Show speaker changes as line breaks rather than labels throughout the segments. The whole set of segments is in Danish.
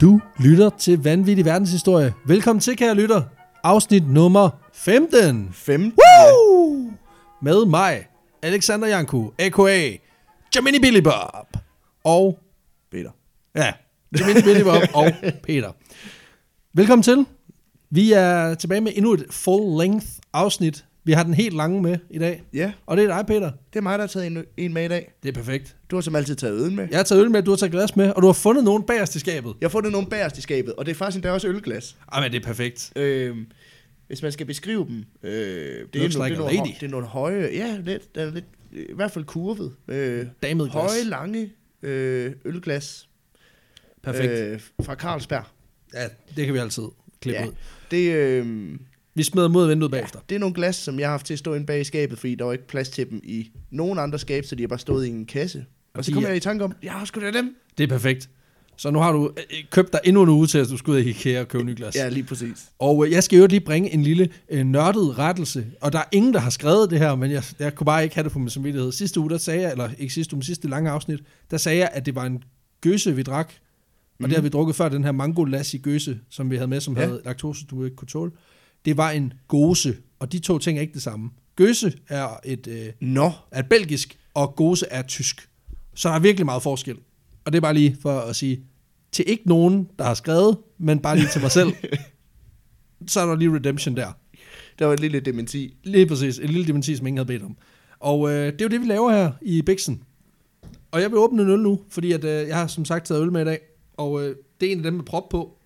Du lytter til Vanvittig Verdenshistorie. Velkommen til, kære lytter. Afsnit nummer 15.
15.
Woo! Med mig, Alexander Janku, a.k.a. Jamini Billy Bob. Og,
Peter.
ja, Jamini Billy Bob og Peter. Velkommen til. Vi er tilbage med endnu et full-length afsnit. Vi har den helt lange med i dag.
Ja,
Og det er dig, Peter.
det er mig, der har taget en, en med i dag.
Det er perfekt.
Du har som altid taget øden med.
Jeg har taget øl med, du har taget glas med, og du har fundet nogen bagerst i skabet.
Jeg har fundet nogle bagerst i skabet, og det er faktisk endda også ølglas.
Ej, men det er perfekt.
Øhm, hvis man skal beskrive dem, øh, det, er
Looks
nogle,
like a
det, er nogle, hø-
lady.
det er nogle høje, ja, lidt, den er lidt, øh, i hvert fald kurvet. Øh,
Damet glas.
høje, lange øh, ølglas
Perfekt. Øh,
øh, fra Carlsberg.
ja, det kan vi altid klippe ja. ud.
det, øh,
Vi smider mod vinduet bagefter.
det er nogle glas, som jeg har haft til at stå inde bag i skabet, fordi der var ikke plads til dem i nogen andre skab, så de har bare stået i en kasse. Og så
de
kom
er-
jeg i tanke om, jeg har sgu da dem.
Det er perfekt. Så nu har du øh, øh, købt dig endnu en uge til, at du skal ud i IKEA og købe nye glas.
Ja, lige præcis.
Og øh, jeg skal jo lige bringe en lille øh, nørdet rettelse. Og der er ingen, der har skrevet det her, men jeg, jeg kunne bare ikke have det på min samvittighed. Sidste uge, der sagde jeg, eller ikke sidste uge, men sidste lange afsnit, der sagde jeg, at det var en gøse, vi drak. Og mm. det har vi drukket før, den her mango lassi gøse, som vi havde med, som ja.
Ja.
havde laktose, du ikke kunne tåle. Det var en gose, og de to ting er ikke det samme. Gøse er et... Øh,
Nå,
er belgisk, og Gose er tysk. Så der er virkelig meget forskel. Og det er bare lige for at sige, til ikke nogen, der har skrevet, men bare lige til mig selv, så er der lige redemption der.
der var et lille dementi.
Lige præcis, en lille dementi, som ingen havde bedt om. Og øh, det er jo det, vi laver her i Bixen. Og jeg vil åbne en øl nu, fordi at, øh, jeg har som sagt taget øl med i dag. Og øh, det er en af dem med prop på.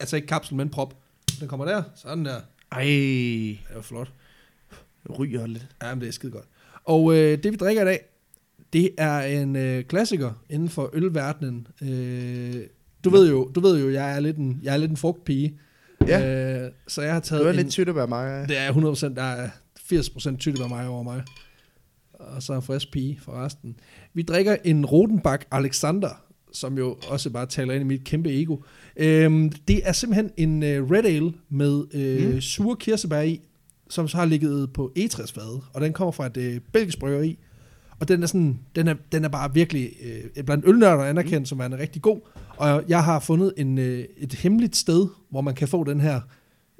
Altså ikke kapsel, men prop. Den kommer der, sådan der.
Ej,
Det er jo flot.
ryger lidt.
Ja, men det er skide godt. Og øh, det vi drikker i dag, det er en øh, klassiker inden for ølverdenen. Øh, du ved jo, du ved jo, jeg er lidt en, jeg er lidt en frugtpige.
Ja,
Øh, så jeg har
det var
taget en,
lidt tydt at være mig.
det er 100%, der er 80% tydeligt mig over mig. Og så en frisk pige for resten. Vi drikker en Rodenbach Alexander, som jo også bare taler ind i mit kæmpe ego. Øhm, det er simpelthen en øh, Red Ale med øh, mm. sure kirsebær i, som så har ligget på etræsfade, og den kommer fra et øh, belgisk bryggeri. Og den er, sådan, den er, den er bare virkelig øh, blandt ølnørder anerkendt, mm. som værende rigtig god. Og jeg har fundet en, øh, et hemmeligt sted, hvor man kan få den her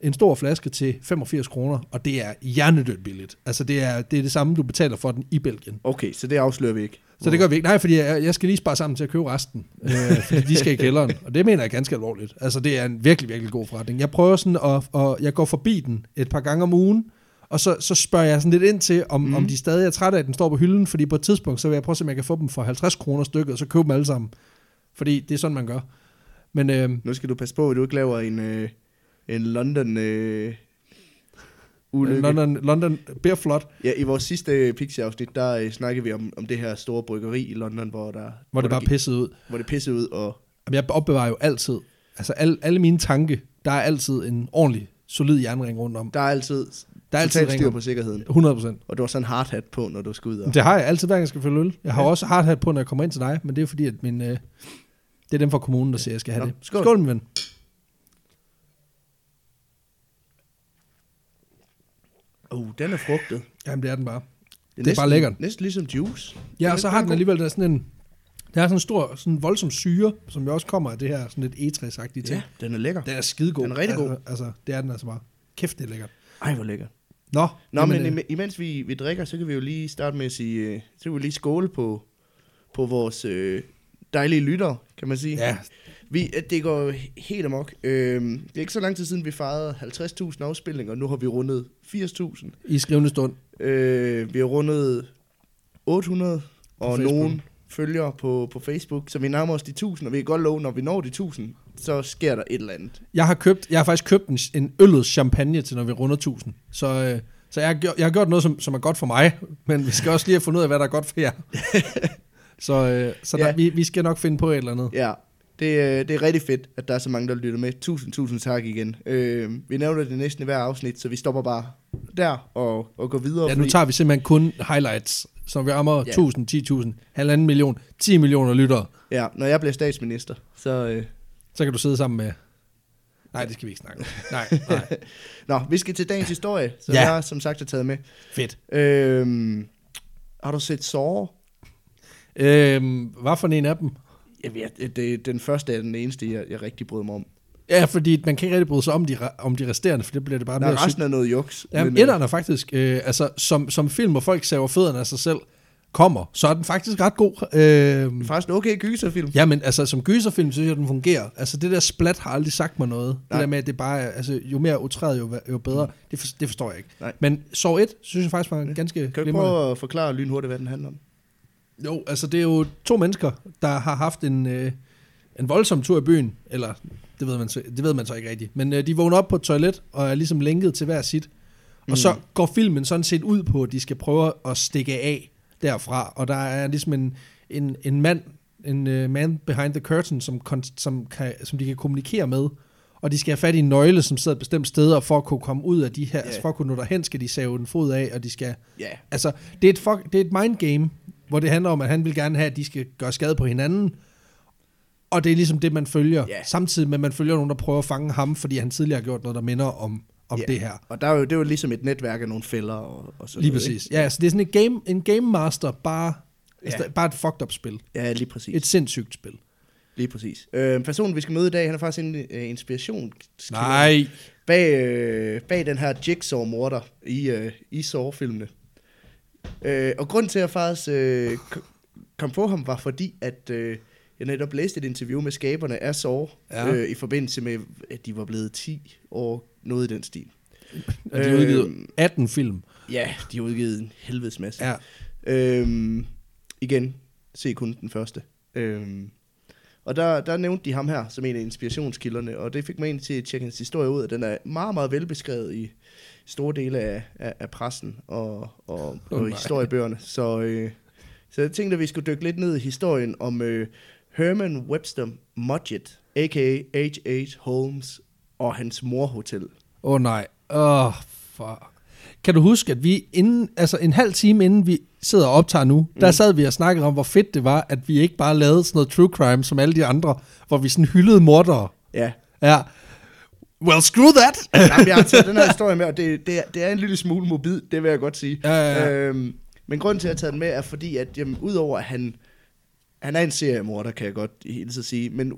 en stor flaske til 85 kroner, og det er hjernedødt billigt. Altså det er, det er det samme, du betaler for den i Belgien.
Okay, så det afslører vi ikke.
Så det gør vi ikke. Nej, fordi jeg, jeg skal lige spare sammen til at købe resten. Øh, fordi de skal i kælderen. Og det mener jeg ganske alvorligt. Altså, det er en virkelig, virkelig god forretning. Jeg prøver sådan, at, og jeg går forbi den et par gange om ugen. Og så, så spørger jeg sådan lidt ind til, om, mm. om de stadig er trætte af, at den står på hylden. Fordi på et tidspunkt, så vil jeg prøve at se, om jeg kan få dem for 50 kroner stykket, og så købe dem alle sammen. Fordi det er sådan, man gør. Men øh,
Nu skal du passe på, at du ikke laver en, øh, en London... Øh, ulykke.
London, London bliver flot,
Ja, i vores sidste øh, Pixie-afsnit, der øh, snakkede vi om, om det her store bryggeri i London, hvor der...
hvor det
der
bare pissede ud.
gik- Hvor det pissede ud, og...
Jamen, jeg opbevarer jo altid. Altså, al, alle mine tanke, der er altid en ordentlig, solid jernring rundt om.
Der er altid,
Der er altid
totalt styr
ringer.
på sikkerheden.
100 procent.
Og du har sådan en hard hat på, når du skal ud og...
Det har jeg altid, hver gang jeg skal følge øl. Jeg har ja. også hardhat på, når jeg kommer ind til dig, men det er fordi, at min, øh, det er dem fra kommunen, der siger, at jeg skal have
Nå,
det. Skål.
skål.
Skål, min ven.
Oh, den er frugtet.
Jamen, det er den bare.
Det
bare lækkert.
Næsten ligesom juice.
Ja, og
Den er-
så
den
har
er
den
god.
alligevel der er sådan en, der er sådan en stor, sådan voldsom syre, som jo også kommer af det her sådan lidt egetræsagtige ting.
Ja, den er lækker.
Den er skidegod.
Den er rigtig god.
Altså, altså, det er den altså bare. Kæft, det er lækkert.
Ej, hvor lækker.
Nå,
Nå, men,
øh,
men imens vi, vi drikker, så kan vi jo lige starte med at sige, øh, så kan vi lige skåle på, på vores øh, dejlige lyttere, kan man sige.
ja,
Vi, øh, det går jo he- helt amok. Øh, det er ikke så lang tid siden, vi fejrede 50.000 afspilninger, nu har vi rundet 80.000.
i skrivende stund.
Øh, vi har rundet 800 og
Facebook.
nogen følgere på, på Facebook, så vi nærmer os de 1000, og vi kan godt love, når vi når de 1000, så sker der et eller andet.
Jeg har, købt, jeg har faktisk købt en, en øllet champagne til, når vi runder 1000. Så, øh, så jeg, har gjort, jeg har gjort noget, som, som er godt for mig, men vi skal også lige have fundet ud af, hvad der er godt for jer. så øh, så der,
Ja.
ja. vi, vi skal nok finde på et eller andet.
Ja, det, øh, det er rigtig fedt, at der er så mange, der lytter med. Tusind, tusind tak igen. Øh, vi nævner det næsten i hver afsnit, så vi stopper bare der og, og går videre.
Ja, nu tager vi simpelthen kun highlights, som vi rammer
Ja.
1000, 10.000, halvanden million, 10 millioner lyttere.
ja, når jeg bliver statsminister, så... Øh,
Så kan du sidde sammen med... Nej, det skal vi ikke snakke om. Nej, nej.
nå, vi skal til dagens historie, som
Ja.
ja. jeg som sagt har taget med.
Fedt.
Øh, har du set Saw?
Øhm, hvad for en af dem?
Jeg ved, det, den første er den eneste, jeg, jeg rigtig brød mig om.
Ja, fordi man kan ikke rigtig bryde sig om de, re- om de resterende, for det bliver det bare
Der
mere
er
sygt.
resten af noget juks.
Jamen,
men, øh,
etteren er faktisk, øh, altså, som, som film, hvor folk saver fødderne af sig selv, kommer, så er den faktisk ret god. Øh,
Faktisk en okay gyserfilm.
ja, men altså, som gyserfilm, synes jeg, den fungerer. Altså, det der splat har aldrig sagt mig noget.
Nej. Mm.
Det der med, at det bare er, altså, jo mere utræet, jo, jo bedre. Det, for, det forstår jeg ikke.
Nej.
Men Saw 1, synes jeg faktisk var en ganske
Kan du ikke prøve at forklare lynhurtigt, hvad den handler om?
Jo, altså det er jo to mennesker, der har haft en, øh, en voldsom tur i byen, eller det ved man så, det ved man så ikke rigtigt, men øh, de vågner op på et toilet og er ligesom lænket til hver sit. Og mm. så går filmen sådan set ud på, at de skal prøve at stikke af derfra, og der er ligesom en, en, en mand, en uh, man behind the curtain, som, kon- som, kan, som de kan kommunikere med, og de skal have fat i en nøgle, som sidder et bestemt sted, og for at kunne komme ud af de her,
Ja.
yeah. altså for at kunne nå derhen, skal de save en fod af, og de skal
Ja.
Altså, det er, et fuck, det er et mind game, hvor det handler om, at han vil gerne have, at de skal gøre skade på hinanden. Og det er ligesom det, man følger.
Ja.
Samtidig med, at man følger nogen, der prøver at fange ham, fordi han tidligere har gjort noget, der minder om, om
Ja.
det her.
Og der er jo, det er jo ligesom et netværk af nogle fælder og, og sådan
Lige
noget,
præcis. Ja, så det er sådan et game, en game master, bare, ja. altså, bare et fucked up spil.
Ikke? Ja, lige præcis.
Et sindssygt spil.
Lige præcis. Øh, personen, vi skal møde i dag, han er faktisk en øh, inspiration
Nej.
bag, øh, bag den her Jigsaw-morder i, øh, i Saw-filmene. Øh, og grund til, at jeg faktisk øh, k- kom på ham, var fordi, at øh, jeg netop læste et interview med skaberne af Saw,
Ja.
ja. øh, i forbindelse med, at de var blevet 10 år, noget i den stil.
Og de har
Øhm.
udgivet 18 film.
Ja, de har udgivet en helvedes masse.
Ja.
Øhm, igen, se kun den første. Øhm, og der, der nævnte de ham her som en af inspirationskilderne, og det fik mig egentlig til at tjekke hans historie ud, og den er meget, meget velbeskrevet i store dele af, af, af pressen og, og, og
nej.
historiebøgerne. Så, øh, så jeg tænkte, at vi skulle dykke lidt ned i historien om øh, Herman Webster Mudgett, a.k.a. H.H. Holmes, og hans morhotel.
Åh oh, nej. Åh, oh, for... Kan du huske, at vi inden, altså en halv time inden vi sidder og optager nu, mm. der sad vi og snakkede om, hvor fedt det var, at vi ikke bare lavede sådan noget true crime som alle de andre, hvor vi sådan hyldede mordere.
Ja,
Ja. Well, screw that!
Jamen, jeg har taget den her historie med, og det, det, er, det er en lille smule mobil, det vil jeg godt sige.
Ja, ja, ja.
Øhm, men grunden til, at jeg har taget den med, er fordi, at jamen, udover at han, han er en seriemorder, kan jeg godt hilse at sige, men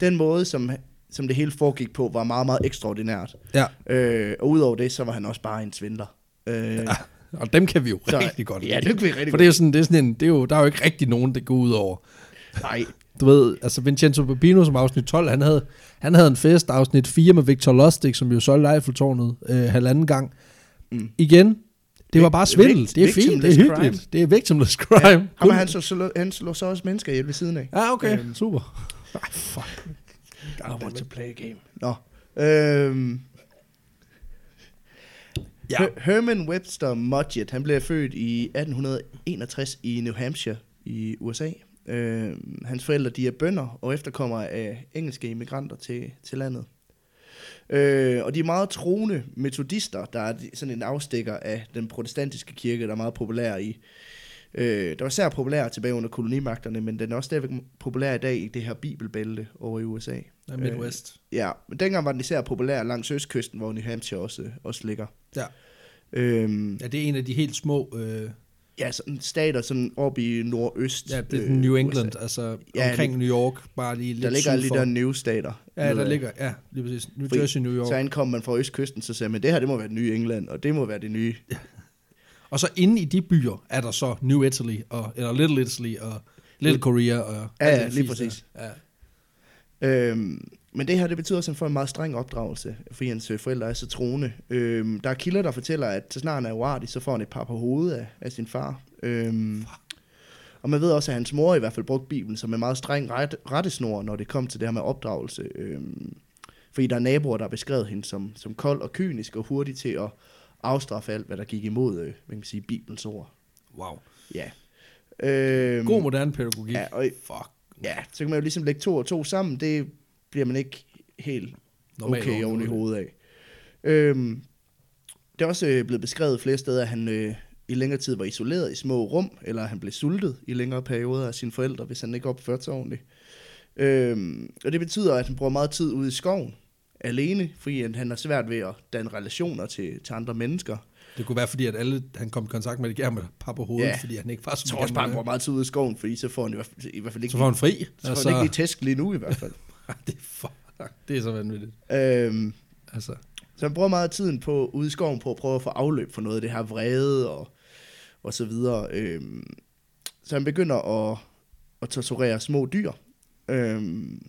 den måde, som, som det hele foregik på, var meget, meget ekstraordinært.
ja.
Øh, og udover det, så var han også bare en svindler. Øh, ja,
Ah, Og dem kan vi jo så, rigtig godt
Ja,
lide.
det kan vi rigtig
For
godt.
det er jo sådan, det er sådan en, det er jo, der er jo ikke rigtig nogen, det går ud over.
Nej,
Du ved, altså Vincenzo Papino som afsnit 12, han havde, han havde en fest afsnit 4 med Victor Lustig, som jo solgte Eiffeltårnet øh, halvanden gang. Mm. Igen, det var bare svindel.
vict-
Det er fint, det er
victimless crime.
hyggeligt. Det er victimless crime.
ham
Ja,
og han, så, så, han slår så også mennesker ihjel ved siden af.
ja okay,
Øhm.
super. Ej, fuck.
I want to play a game. Nå. Øhm,
Ja.
Her- Herman Webster Mudgett, han blev født i 1861 i New Hampshire i USA. Øh, hans forældre, de er bønder og efterkommere af engelske immigranter til, til landet. Øh, og de er meget troende metodister, der er de- sådan en afstikker af den protestantiske kirke, der er meget populær i. Øh, der var især populær tilbage under kolonimagterne, men den er også stadigvæk populær i dag i det her bibelbælte over i USA.
Ja, Midwest.
Ja, men dengang var den især populær langs østkysten, hvor New Hampshire også, også ligger.
Ja.
Øhm,
ja, det er en af de helt små, øh,
ja, sådan stater sådan op i nordøst.
ja, det er
øh,
den New
USA.
England, altså
Ja,
omkring New York, bare lige lidt
Der ligger alle
syd for.
de der new stater.
Ja, der
Nedad.
ligger, ja, lige præcis. New
Fordi
Jersey, New York.
Så ankom man fra østkysten, så sagde man, det her det må være det nye England, og det må være det nye.
Og så inde i de byer er der så New Italy, og, eller Little Italy, og Little Korea. Og
Ja,
alt
ja,
det
lige
fisk der.
præcis.
Ja.
Øhm, men det her, det betyder, at han får en meget streng opdragelse, fordi hans øh, forældre er så troende. Øhm, der er kilder, der fortæller, at så snart han er uartig, så får han et par på hovedet af, af sin far. Øhm, og man ved også, at hans mor i hvert fald brugte Bibelen som en meget streng ret, rettesnor, når det kom til det her med opdragelse. Øhm, fordi der er naboer, der har beskrevet hende som, som kold og kynisk og hurtig til at afstraffe alt, hvad der gik imod øh, hvad kan man sige, Bibelens ord.
Wow.
Ja. Øhm,
God moderne pædagogik.
Mm. ja, og i-
Fuck.
ja, så kan man jo ligesom lægge to og to sammen. Det bliver man ikke helt
Normalt
Normalt
oven
okay oven
i
i hovedet af. Øhm, det er også øh, blevet beskrevet flere steder, at han øh, i længere tid var isoleret i små rum, eller at han blev sultet i længere perioder af sine forældre, hvis han ikke opførte sig ordentligt. Øhm, og det betyder, at han bruger meget tid ude i skoven, alene, fordi han, han har svært ved at danne relationer til, til andre mennesker.
Det kunne være, fordi at alle, han kom i kontakt med det, gav med par på hovedet,
Ja.
fordi han ikke var så
Jeg tror også bare, han bruger meget tid ude i skoven, fordi så får han i hvert fald, i hvert fald ikke,
Så får han fri. Altså,
så får han Altså- ikke lige tæsk lige nu i hvert fald.
det, er for, det er så vanvittigt.
øhm,
Altså,
så han bruger meget af tiden på, ude i skoven på at prøve at få afløb for noget af det her vrede og, og så videre. Øhm, så han begynder at, at torturere små dyr. Øhm,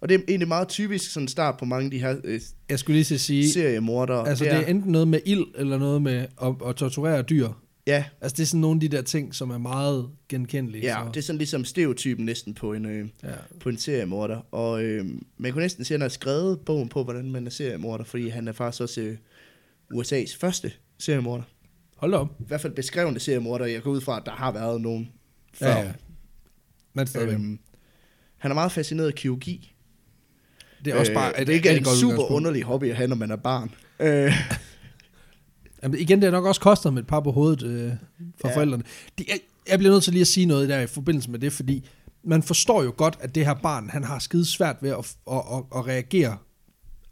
og det er egentlig meget typisk sådan start på mange af de her øh,
jeg skulle lige til at sige,
seriemordere.
altså det er enten noget med ild, eller noget med at, at torturere dyr.
ja,
Altså det er sådan nogle af de der ting, som er meget genkendelige.
ja,
så,
det er sådan ligesom stereotypen næsten på en, øh,
ja.
på en seriemorder. Og øh, man kunne næsten sige, at han har skrevet bogen på, hvordan man er seriemorder, fordi han er faktisk også øh, USA's første seriemorder.
Hold da op.
I hvert fald beskrevne seriemorder, jeg går ud fra, at der har været nogen før.
Ja, ja. Men stadigvæk.
Øhm, han er meget fascineret af kirurgi.
det er også bare
øh,
et
det ikke er en
rigtig godt
super
udgangspunkt.
underlig hobby at have, når man er barn. Øh,
Jamen, igen, det har nok også kostet ham et par på hovedet øh, fra
Ja.
ja. forældrene. Det, jeg, jeg bliver nødt til lige at sige noget der i forbindelse med det, fordi man forstår jo godt, at det her barn, han har skide svært ved at, at, at, at reagere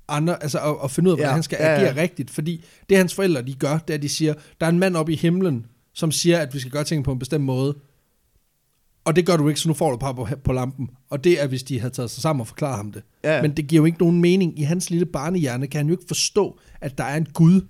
andre, altså at, at finde ud af, hvordan
Ja,
han skal
ja, ja.
agere rigtigt, fordi det hans forældre, de gør, det er, at de siger, der er en mand oppe i himlen, som siger, at vi skal gøre tingene på en bestemt måde, og det gør du ikke, så nu får du et par på, på lampen. Og det er, hvis de havde taget sig sammen og forklaret ham det.
Ja.
Men det giver jo ikke nogen mening. I hans lille barnehjerne kan han jo ikke forstå, at der er en Gud,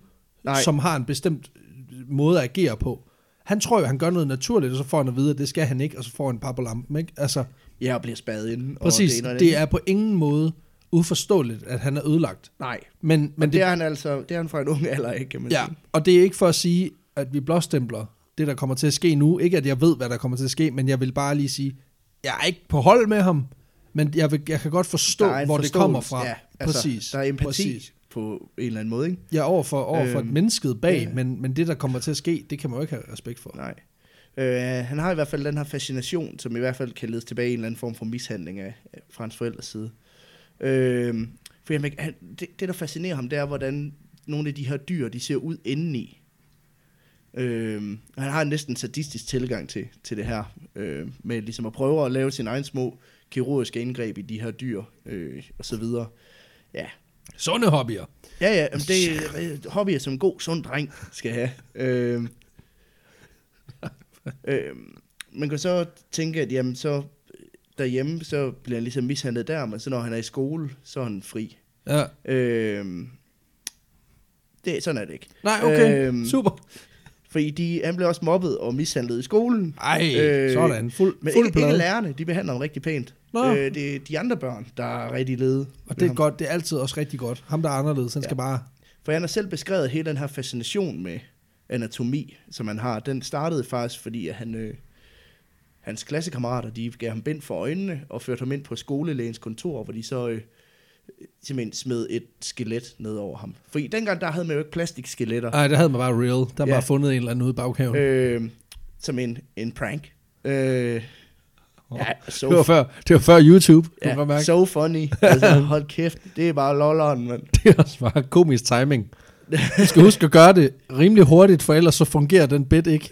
Nej.
som har en bestemt øh, måde at agere på. Han tror jo, han gør noget naturligt, og så får han at vide, at det skal han ikke, og så får han et par på lampen. Ikke? Altså,
jeg bliver spadet inden.
præcis,
Og det, ene og
det er på ingen måde uforståeligt, at han er ødelagt.
Nej,
Men, men,
men det, det, er han altså, det er han fra en ung alder, ikke, kan man
Ja,
sige.
og det er ikke for at sige, at vi blåstempler det, der kommer til at ske nu. Ikke at jeg ved, hvad der kommer til at ske, men jeg vil bare lige sige, jeg er ikke på hold med ham, men jeg, vil, jeg kan godt forstå,
Der er en
hvor det
forståelse.
kommer fra.
Ja, altså,
præcis.
Der er empati
Præcis.
på en eller anden måde, ikke?
Ja, over for, over for
Øhm,
øhm, mennesket bag,
ja.
ja. men, men det, der kommer til at ske, det kan man jo ikke have respekt for.
Nej. Øh, han har i hvert fald den her fascination, som i hvert fald kan lede tilbage i en eller anden form for mishandling af, af- fra hans forældres side. Øh, for han, han, det, det, der fascinerer ham, det er, hvordan nogle af de her dyr, de ser ud indeni. Øh, og han har en næsten sadistisk tilgang til, til det her, øh, med ligesom at prøve at lave sine egne små kirurgiske indgreb i de her dyr, øh, og så videre. Ja,
Sunde hobbyer.
Ja, ja, jamen det er øh, hobbyer, som en god, sund dreng skal have. Øhm, øhm, man kan så tænke, at jamen, så øh, derhjemme, så bliver han ligesom mishandlet der, men så når han er i skole, så er han fri.
Ja.
Øhm, det, sådan er det ikke.
Nej, okay.
Øhm,
Øhm, Super.
Fordi de, han blev også mobbet og mishandlet i skolen.
Ej, øh, sådan. Fuld,
Men
fuld
ikke,
plade.
ikke lærerne, de behandler ham rigtig pænt.
Nå.
Øh, det er de andre børn, der er rigtig lede. med
og det er
ham.
godt, det er altid også rigtig godt. Ham, der er anderledes, han
Ja.
ja. skal bare...
For han har selv beskrevet hele den her fascination med anatomi, som han har. Den startede faktisk, fordi at han, øh, hans klassekammerater de gav ham bind for øjnene og førte ham ind på skolelægens kontor, hvor de så øh, simpelthen smed et skelet ned over ham. For dengang der havde man jo ikke plastiksskeletter,
Ej, der havde man bare real. Der
Ja.
ja. bare fundet en eller anden ude i baghaven. Øh,
øh, som en, en prank. Øh, ja, so,
det, var før, det var før YouTube, ja, kunne man
ja,
mærke.
so funny. Altså, hold kæft, det er bare lolleren, mand.
Det er også bare komisk timing. Du skal huske at gøre det rimelig hurtigt, for ellers så fungerer den bit ikke.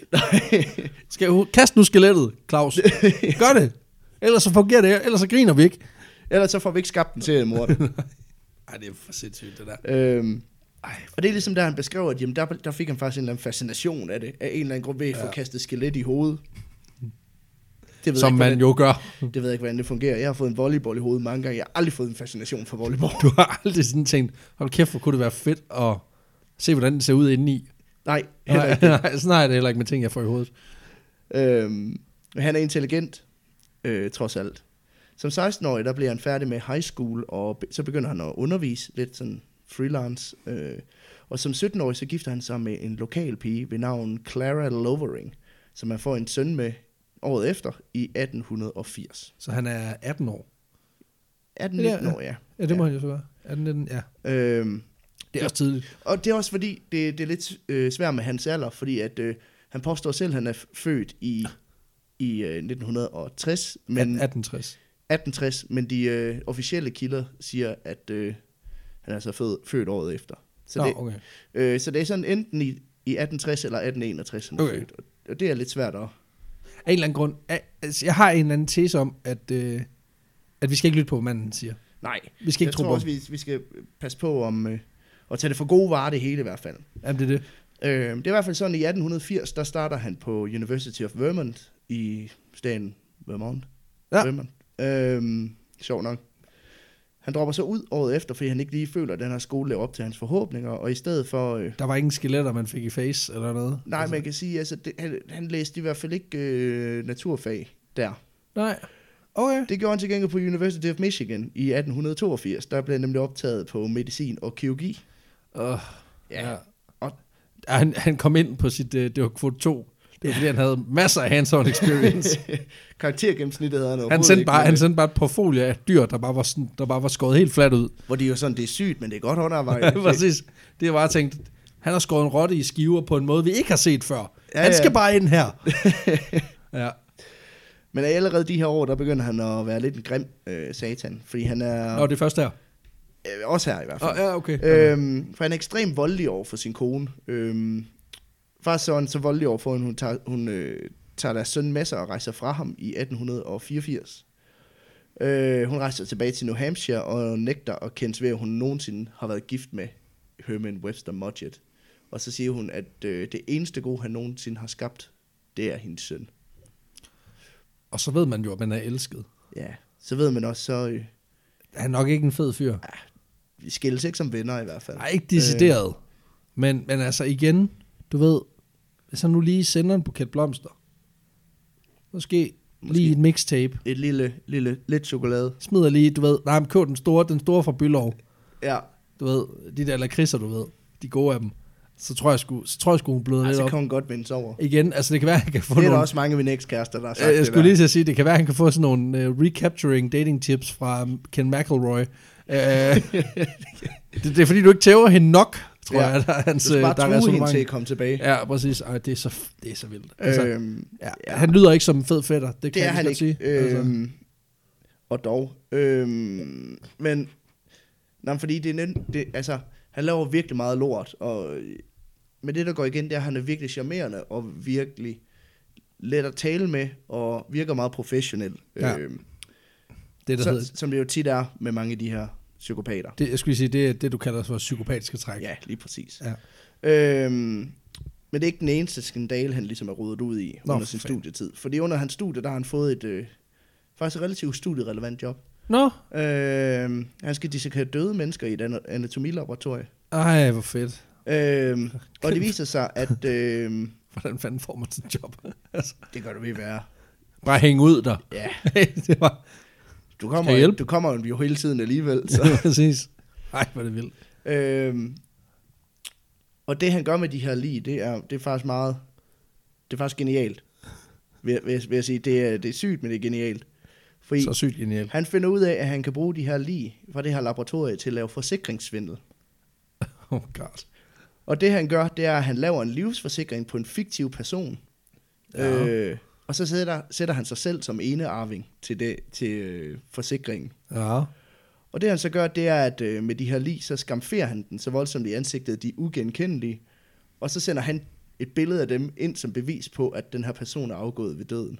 Skal hu- Kast nu skelettet, Claus. Gør det. Ellers så fungerer det, ellers så griner vi ikke.
Ellers så får vi ikke skabt den til, mor.
Ej, det er for sindssygt, det der.
Øhm, og det er ligesom der, han beskriver, at jamen, der, der fik han faktisk en eller anden fascination af det, af en eller anden grund ved at få
Ja.
kastet skelet i hovedet. Det ved,
Som
jeg ikke,
man
hvordan,
jo gør.
det ved jeg ikke, hvordan det fungerer. Jeg har fået en volleyball i hovedet mange gange. Jeg har aldrig fået en fascination for volleyball.
Du har aldrig sådan tænkt, hold kæft, hvor kunne det være fedt at se, hvordan den ser ud indeni.
Nej, heller
Nej,
ikke.
nej, sådan har jeg det heller ikke med ting, jeg får i hovedet.
Øhm, men han er intelligent, øh, trods alt. Som 16-årig, der bliver han færdig med high school, og be- så begynder han at undervise lidt sådan freelance. Øh. Og som 17-årig, så gifter han sig med en lokal pige ved navn Clara Lovering, som han får en søn med året efter i 1880.
Så han er 18 år.
18-19 år, ja.
Ja, det må han jo så være. 18, 19, ja.
Øhm,
Det er også tidligt.
og det er også fordi, det, det er lidt øh, svært med hans alder, fordi at øh, han påstår selv, at han er f- født i, i øh, 1960.
Men,
Men
1860.
1860, men de øh, officielle kilder siger, at øh, han er altså fød, født året efter. Så,
Nå,
det,
okay.
øh, så det er sådan enten i, i 1860 eller 1861, han er
Okay.
født. Og- Og det er lidt svært at...
Af en eller anden grund. Af, altså, jeg har en eller anden tese om, at, øh, at vi skal ikke lytte på, hvad manden siger.
Nej,
Vi skal ikke
jeg
tro
tror
på
også, vi, vi skal passe på om øh, at tage det for gode varer, det hele i hvert fald.
Jamen, det er det.
Øh, det er i hvert fald sådan, at i 1880, der starter han på University of Vermont i staten Vermont.
Ja.
Vermont. Øh, sjov nok. Han dropper så ud året efter, fordi han ikke lige føler, at den her skole lever op til hans forhåbninger, og i stedet for... Øh,
Der var ingen skeletter, man fik i face eller noget.
nej,
altså,
man kan sige, altså, det, han, han læste i hvert fald ikke øh, naturfag der.
Nej. Okay.
Det gjorde han til gengæld på University of Michigan i 1882. Der blev han nemlig optaget på medicin og kirurgi.
Uh,
Ja. Og-
han, han kom ind på sit, øh, det var kvote 2. Det var fordi, han havde masser af hands-on experience.
Karaktergennemsnittet havde han
han,
overhovedet
sendte
ikke
bare,
med.
han sendte bare et portfolio af dyr, der bare var, sådan, der bare var skåret helt fladt ud.
Hvor det er jo sådan, det er sygt, men det er godt
Ja,
håndarbejde.
præcis. Det var bare tænkt, han har skåret en rotte i skiver på en måde, vi ikke har set før. Ja,
Ja,
han
ja.
skal bare ind her. ja.
men allerede de her år, der begynder han at være lidt en grim øh, satan. Fordi han er...
Nå, det er først her.
øh, også her i hvert
Oh,
fald.
ja, okay.
Øhm, for han er ekstremt voldelig over for sin kone. Øhm, faktisk så er han så voldelig over for hende, hun tager, hun, øh, tager deres søn med sig og rejser fra ham i 1884. Øh, hun rejser tilbage til New Hampshire og nægter at kendes ved, at hun nogensinde har været gift med Herman Webster Mudgett. Og så siger hun, at øh, det eneste gode, han nogensinde har skabt, det er hendes søn.
Og så ved man jo, at man er elsket.
Ja, så ved man også, så øh,
Han er nok ikke en fed fyr.
vi skilles ikke som venner i hvert fald.
Nej, ikke decideret. Øh. Men, men altså igen, du ved, hvis han nu lige sender en buket blomster, måske, måske.
Måske.
lige et mixtape,
Øh, et lille, lille, lidt chokolade.
smider lige, du ved, nej, men køb den store, den store fra Bylov,
Ja,
du ved, de der lakridser, du ved, de gode af dem, så tror jeg sgu, så tror jeg sgu, hun bløder
Ej,
lidt
så
op.
kan hun godt vende sig over.
Igen, altså det kan være, han kan få
Det er der
nogle, Øh,
også mange af mine ekskærester, der har sagt
jeg, jeg
det
skulle
der.
lige til at sige, det kan være, han kan få sådan nogle uh, recapturing dating tips fra um, Ken McElroy. Uh, det, det, er fordi, du ikke tæver hende nok, tror
Ja.
jeg, der er hans,
Du skal
øh, der er
bare true hende
resonemang.
til at komme tilbage.
Ja, præcis. Ej, det er så, det er så vildt. Altså, øh,
Øhm,
ja. Han lyder ikke som en fed fætter, det kan
det
jeg
er
lige
han
godt
ikke.
sige. altså.
Øhm, og dog. Øhm, men, nej, fordi det er nem, det, altså, han laver virkelig meget lort, og, men det, der går igen, det er, at han er virkelig charmerende, og virkelig let at tale med, og virker meget professionel.
Ja,
øhm,
Det, der så, hedder,
så, som det jo tit er med mange af de her psykopater.
det, jeg skulle lige sige, det er det, du kalder for psykopatiske træk.
Ja, lige præcis.
Ja.
Øhm, men det er ikke den eneste skandale, han ligesom er rodet ud i
Nå,
Nå, under
for
sin
fanden.
studietid. Fordi under hans studie, der har han fået et øh, faktisk et relativt studierelevant job.
Nå,
Øhm, han skal dissekere døde mennesker i et ana- anatomilaboratorium.
ej, hvor fedt.
Øhm, og det viser sig, at øhm,
Hvordan fanden får man sådan en job? altså,
det gør det ved være.
bare hænge ud der.
Ja,
det var
du
Skal jeg
kommer,
hjælpe?
du kommer jo hele tiden alligevel. Så.
præcis. Ej, hvor er det vildt.
Øhm, og det han gør med de her lige, det er, det er faktisk meget, det er faktisk genialt. Vil, vil, vil jeg sige, det er, det er sygt, men det er genialt. Fordi
Så sygt genialt.
han finder ud af, at han kan bruge de her lige fra det her laboratorie til at lave forsikringssvindel.
Oh god.
Og det han gør, det er, at han laver en livsforsikring på en fiktiv person.
Ja.
Ja. Øh, og så sætter, sætter han sig selv som enearving til, det, til øh, forsikringen.
Ja.
Og det han så gør, det er, at øh, med de her lig, så skamferer han den så voldsomt i ansigtet, at de er ugenkendelige. Og så sender han et billede af dem ind som bevis på, at den her person er afgået ved døden.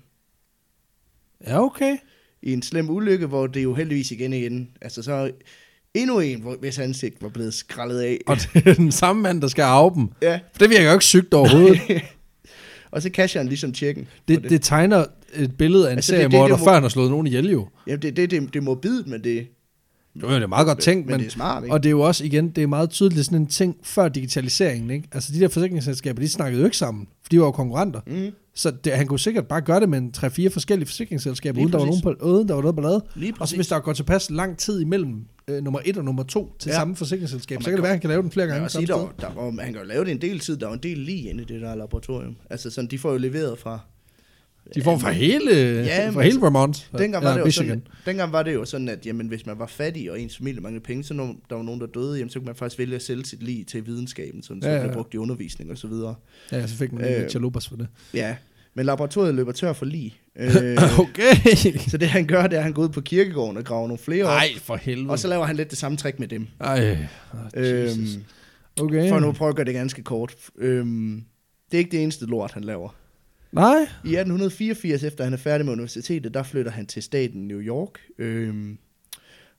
Ja, okay.
I en slem ulykke, hvor det jo heldigvis igen igen, altså så endnu en, hvor, hvis ansigt var blevet skrællet af.
Og det er den samme mand, der skal arve dem.
Ja,
For det virker jo ikke sygt overhovedet.
og så casher han ligesom tjekken. på
Det, det tegner et billede af en altså,
Altså, det- det-
seriemorder,
det må-
før han har slået nogen ihjel jo.
Jamen, det, det, det, det er morbidt, men det,
Jo, jo, det er meget godt tænkt,
men det er smart, ikke?
Og det er jo også, igen, det er meget tydeligt sådan en ting før digitaliseringen, ikke? Altså, de der forsikringsselskaber, de snakkede jo ikke sammen, for de var jo konkurrenter.
Mm.
Så det, han kunne sikkert bare gøre det med en 3-4 forskellige forsikringsselskaber,
Lige
uden der, var nogen
præcis.
på, uden der var noget ballade.
Lige
Og så hvis der går tilpas lang tid imellem øh, nummer 1 og nummer 2 til ja.
Ja.
samme forsikringsselskab,
Og
så kan det
man kan-
være, at han kan lave den flere
Jeg vil
gange
også sige,
samme
der,
sted.
var- der, var- han kan jo lave det en del tid, der var en del lige inde i det der laboratorium. Altså sådan, de får jo leveret fra
De får fra hele, ja,
Ja,
fra
men
hele Vermont.
Dengang var,
eller
det jo
Michigan.
sådan, dengang var det jo sådan, at jamen, hvis man var fattig, og ens familie manglede penge, så når der var nogen, der døde, jamen, så kunne man faktisk vælge at sælge sit liv til videnskaben, sådan, så
Ja,
ja,
ja,
ja. blev
ja.
brugt i undervisning og så videre.
Ja, så fik man lige lidt
Øh,
chalupas for det.
Ja, men laboratoriet løber tør for lige. Øh,
Okay.
så det han gør, det er, at han går ud på kirkegården og graver nogle flere op,
Nej, for helvede.
og så laver han lidt det samme trick med dem.
Ej, oh, Jesus.
Øhm,
okay.
for nu at prøve at gøre det ganske kort. Øhm, det er ikke det eneste lort, han laver.
Nej.
I 1884, efter han er færdig med universitetet, der flytter han til staten New York. Øhm,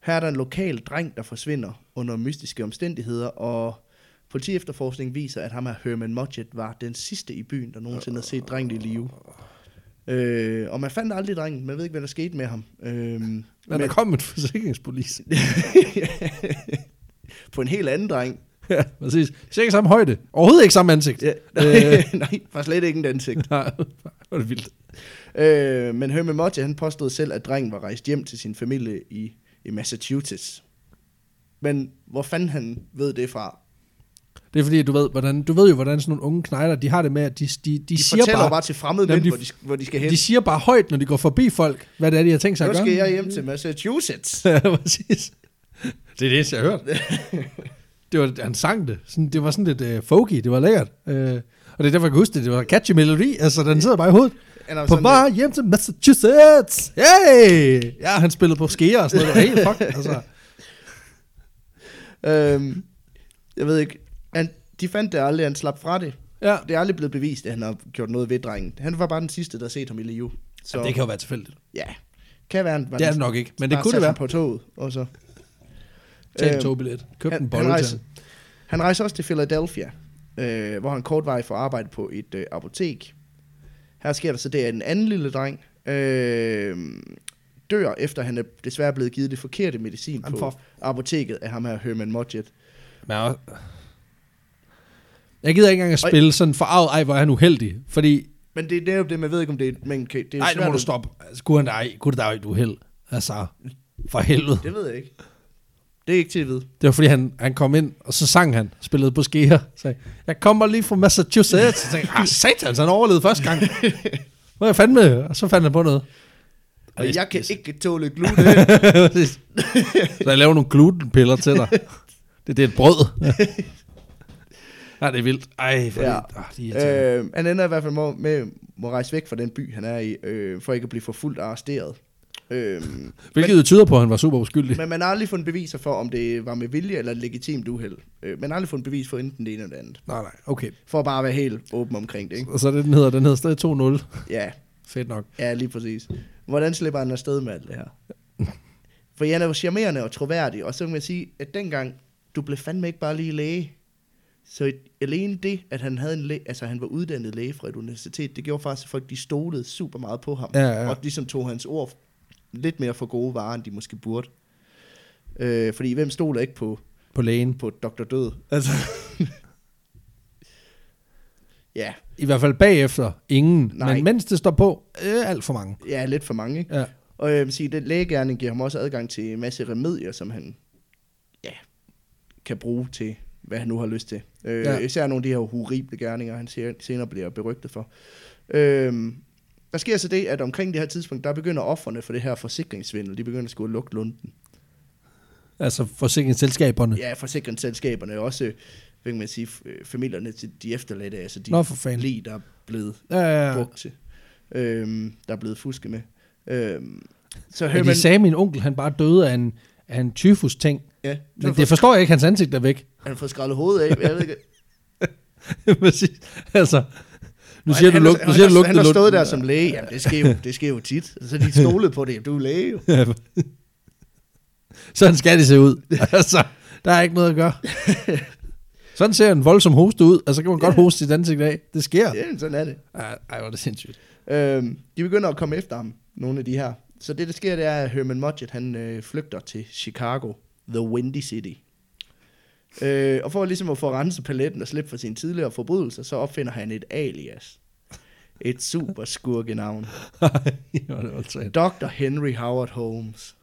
Her er der en lokal dreng, der forsvinder under mystiske omstændigheder, og politiefterforskningen viser, at ham her Herman Mudgett var den sidste i byen, der nogensinde har set drengen i live. Øh, og man fandt aldrig drengen. Man ved ikke, hvad der skete med ham. Øh, men,
Men der kom en forsikringspolis.
på en helt anden dreng.
ja, præcis. Cirka samme højde. Overhovedet ikke samme ansigt.
Ja,
Øh.
nej, var slet ikke en ansigt.
Nej, hvor er det vildt.
Øh, men Herman Motti, han påstod selv, at drengen var rejst hjem til sin familie i, i Massachusetts. Men hvor fanden han ved det fra?
Det er fordi, du ved, hvordan, du ved jo, hvordan sådan nogle unge knejder, de har det med, at de, de, de,
De, de
siger
fortæller
bare,
bare, bare til fremmede
Jamen,
mænd,
de-
hvor, de, sk- hvor de skal hen.
de siger bare højt, når de går forbi folk, hvad det er, de har tænkt sig
Nu
at gøre.
skal jeg hjem til Massachusetts.
Ja, præcis. Det er det eneste, jeg har hørt. det var, han sang det. Sådan, det var sådan lidt øh, folky, det var lækkert. Øh, og det er derfor, jeg kan huske det. Det var en catchy melodi, altså den sidder bare i hovedet.
Han er
På
sådan
vej hjem til Massachusetts! Hey! Ja, han spillede på skeer og sådan noget. Det var helt fuck, altså.
lidt, øhm, jeg ved ikke. Han, de fandt det aldrig, han slap fra det.
Ja,
Det er aldrig blevet bevist, at han har gjort noget ved drengen. Han var bare den sidste, der har set ham i live. Så
Jamen, det kan jo være tilfældigt.
ja, kan være, han var
Det er
den
det nok ikke, men det
bare
kunne det
satte ham
være. Øh,
på toget. Og så.
Tag en
Øhm,
togbillet. Køb en
han- han
bolle til
rejser-
ham.
Han rejser også til Philadelphia, øh, hvor han kort vej får arbejde på et øh, apotek. Her sker der så det, at en anden lille dreng øh, dør, efter han er desværre blevet givet det forkerte medicin
Jamen,
på
for-
apoteket af ham her Herman Mudgett.
Men jeg, jeg gider ikke engang at
Ej.
spille sådan forarvet, ej hvor er han uheldig, fordi
Men det er netop det, man ved ikke, om det er... Men kan, det er
Nej, nu må
svært
du
at-
stoppe. Altså, kunne han da ej, kunne det da ej, du held. Altså, for helvede.
Det ved jeg ikke. Det er ikke til at vide.
Det var fordi, han, han kom ind, og så sang han, spillede på skeer. Sagde, jeg kommer lige fra Massachusetts. Så tænkte, jeg, ah, satans, han overlevede første gang. Hvad er jeg fandme? Og så fandt han på noget.
Og
det-
jeg kan
det-
ikke tåle gluten.
Præcis. så jeg laver nogle glutenpiller til dig. Det, det er et brød. Nej, det er vildt. Ej, for
Ja.
ja. ah, de er øh,
øh, han ender i hvert fald må, med må rejse væk fra den by, han er i, øh, for ikke at blive forfulgt og arresteret. Øh,
Hvilket jo tyder på, at han var super uskyldig.
Men man har aldrig fundet beviser for, om det var med vilje eller et legitimt uheld. Øh, Man har aldrig fundet bevis for enten det ene eller det andet.
nej, nej, okay.
For at bare være helt åben omkring det, ikke?
Og så er det, den hedder, den hedder stadig 2-0.
Ja,
Fedt nok.
ja lige præcis. Hvordan slipper han afsted med alt det her? For han er jo charmerende og troværdig, og så kan man sige, at dengang, du blev fandme ikke bare lige læge. Så et- alene det, at han, havde en læge, altså han var uddannet læge fra et universitet, det gjorde faktisk, at folk de stolede super meget på ham.
Ja, ja.
Og ligesom tog hans ord lidt mere for gode varer, end de måske burde. Øh, fordi hvem stoler ikke på
På lægen.
på Dr. Død. Altså. ja,
I hvert fald bagefter, ingen.
Nej.
Nej. Men mens det står på, øh, alt for mange.
ja, lidt for mange. Ikke?
Ja.
Og jeg vil sige, den lægegærning giver ham også adgang til en masse remedier, som han ja, kan bruge til, hvad han nu har lyst til. Øh, ja.
Ja.
Især nogle af de her horrible gerninger, han se- senere bliver berygtet for. Øh, der sker så det, at omkring det her tidspunkt, der begynder offerne for det her forsikringssvindel, de begynder sgu at lukke lunden.
Altså forsikringsselskaberne. Ja.
Ja, forsikringsselskaberne, og også, øh, hvad kan man sige, f- øh, familierne til de efterladte, altså de
Nå, for fanden.
lig, der er blevet
Ja, ja, ja.
brugt til, øhm, der er blevet fusket med. Øhm, så
Men
Herman,
de sagde, at min onkel han bare døde af en, af en tyfus-ting.
ja, du
Men
har
det
fået-
forstår jeg ikke, hans ansigt er væk.
han har fået skrællet hovedet af, jeg ved ikke.
Præcis. altså, nu siger
han,
du lugt,
han,
nu siger
han,
du
har-
lugt,
han har stået der som læge, jamen det sker jo, det sker jo tit, så de stolede på det, Jamen, du er læge jo.
Sådan skal det se ud. altså, der er ikke noget at gøre. Sådan ser en voldsom hoste ud, og så kan man godt hoste sit ansigt af. Det sker.
Ja, sådan er det.
Ej, Ej, hvor er det sindssygt.
Øhm, de begynder at komme efter ham, nogle af de her. Så det, der sker, det er, at Herman Mudgett, han øh, flygter til Chicago, The Windy City. Øh, og for ligesom at få renset paletten og slippe for sine tidligere forbrydelser, så opfinder han et alias. Et super skurkenavn.
Ej, hvor er det voldsomt.
Dr. Henry Howard Holmes.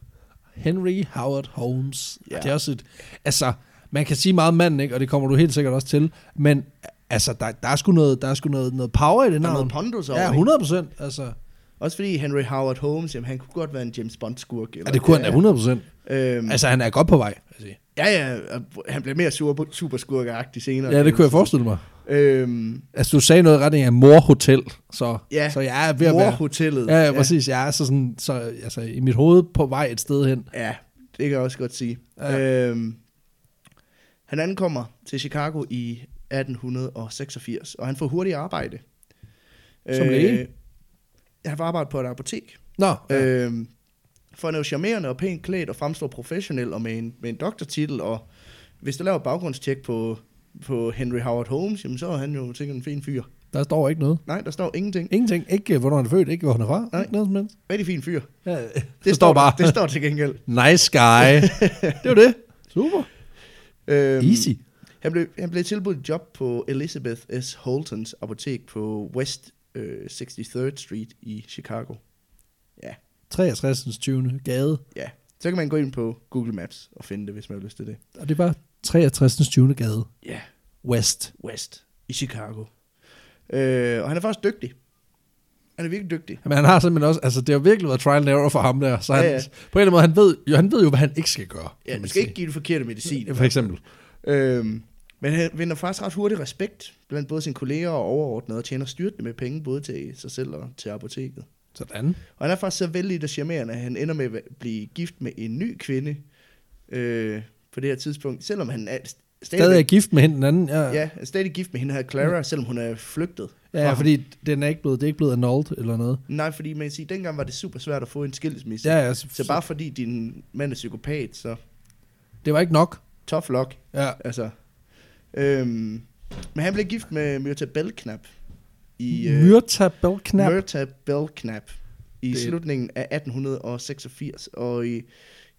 Henry Howard Holmes.
Ja.
Ja. Det er også et, altså, man kan sige meget om manden, ikke? og det kommer du helt sikkert også til, men altså, der, der er sgu noget, der er sgu noget, noget power i det
Der er
navn.
noget pondus over,
Ja,
ikke?
100 procent. Altså,
Også fordi Henry Howard Holmes, jamen, han kunne godt være en James Bond-skurk. eller
ja, det kunne han da
er.
100 procent.
Øhm,
Altså, han er godt på vej. vil jeg sige.
ja, ja, og han bliver mere super, superskurkeagtig senere.
Ja, det kunne jeg forestille mig.
Øhm,
Altså, du sagde noget i retning af morhotel, så,
Ja,
så jeg er ved at være...
Morhotellet.
Ja, ja, præcis. Jeg er så sådan, så, altså, i mit hoved på vej et sted hen.
Ja, det kan jeg også godt sige. Ja.
Ja.
Øhm, han ankommer til Chicago i 1886, og han får hurtigt arbejde.
Som læge?
Han får arbejde på et apotek. Øh.
Nå, ja.
Ja. Øhm, For han er jo charmerende og pænt klædt og fremstår professionel og med en, med en doktortitel. Og hvis du laver et baggrundstjek på, på Henry Howard Holmes, jamen, så er han jo sikkert en fin fyr.
Der står ikke noget.
Nej, der står ingenting.
Ingenting. Ikke øh, hvornår han er født, ikke hvor han er fra.
Nej.
Ikke noget som helst.
Rigtig fin fyr.
Ja, øh,
Det
der står bare,
Det står til gengæld.
nice guy. det var det. Super.
Øhm,
Easy.
Han blev, han blev tilbudt et job på Elizabeth S. Holtons apotek på West øh, 63rd Street i Chicago.
63. 20. gade.
Så kan man gå ind på Google Maps og finde det, hvis man har lyst til det.
Og det var 63. 20. gade.
Ja, yeah.
West.
West i Chicago. Øh, og han er faktisk dygtig. Han er virkelig dygtig.
Men han har simpelthen også, altså det har virkelig været trial and error for ham der, så han,
Ja,
ja,
ja.
ja. på en eller anden måde, han ved, jo, han ved jo, hvad han ikke skal gøre.
Ja,
kan
man
man
skal
sige.
ikke give det forkerte medicin.
For eksempel.
Øhm, men han vinder faktisk ret hurtigt respekt blandt både sine kolleger og overordnede, og tjener styrtende med penge både til sig selv og til apoteket.
Sådan.
Og han er faktisk så vældig og charmerende, at han ender med at blive gift med en ny kvinde øh, på det her tidspunkt, selvom han er st-
Stadig
stadig,
er gift med hende den anden. Ja, ja,
ja, er stadig gift med hende her Clara, selvom hun er flygtet.
ja fordi den er ikke blevet, det er ikke blevet annulled eller noget.
Nej, fordi man kan sige, dengang var det super svært at få en skilsmisse.
Ja, ja,
Så bare fordi din mand er psykopat, så
det var ikke nok.
tough luck.
Ja.
Altså. Øhm, men han blev gift med Myrta Belknap i øh,
Yeah. Myrta Belknap.
Myrta Belknap i
Det-
det. slutningen af 1886, og i,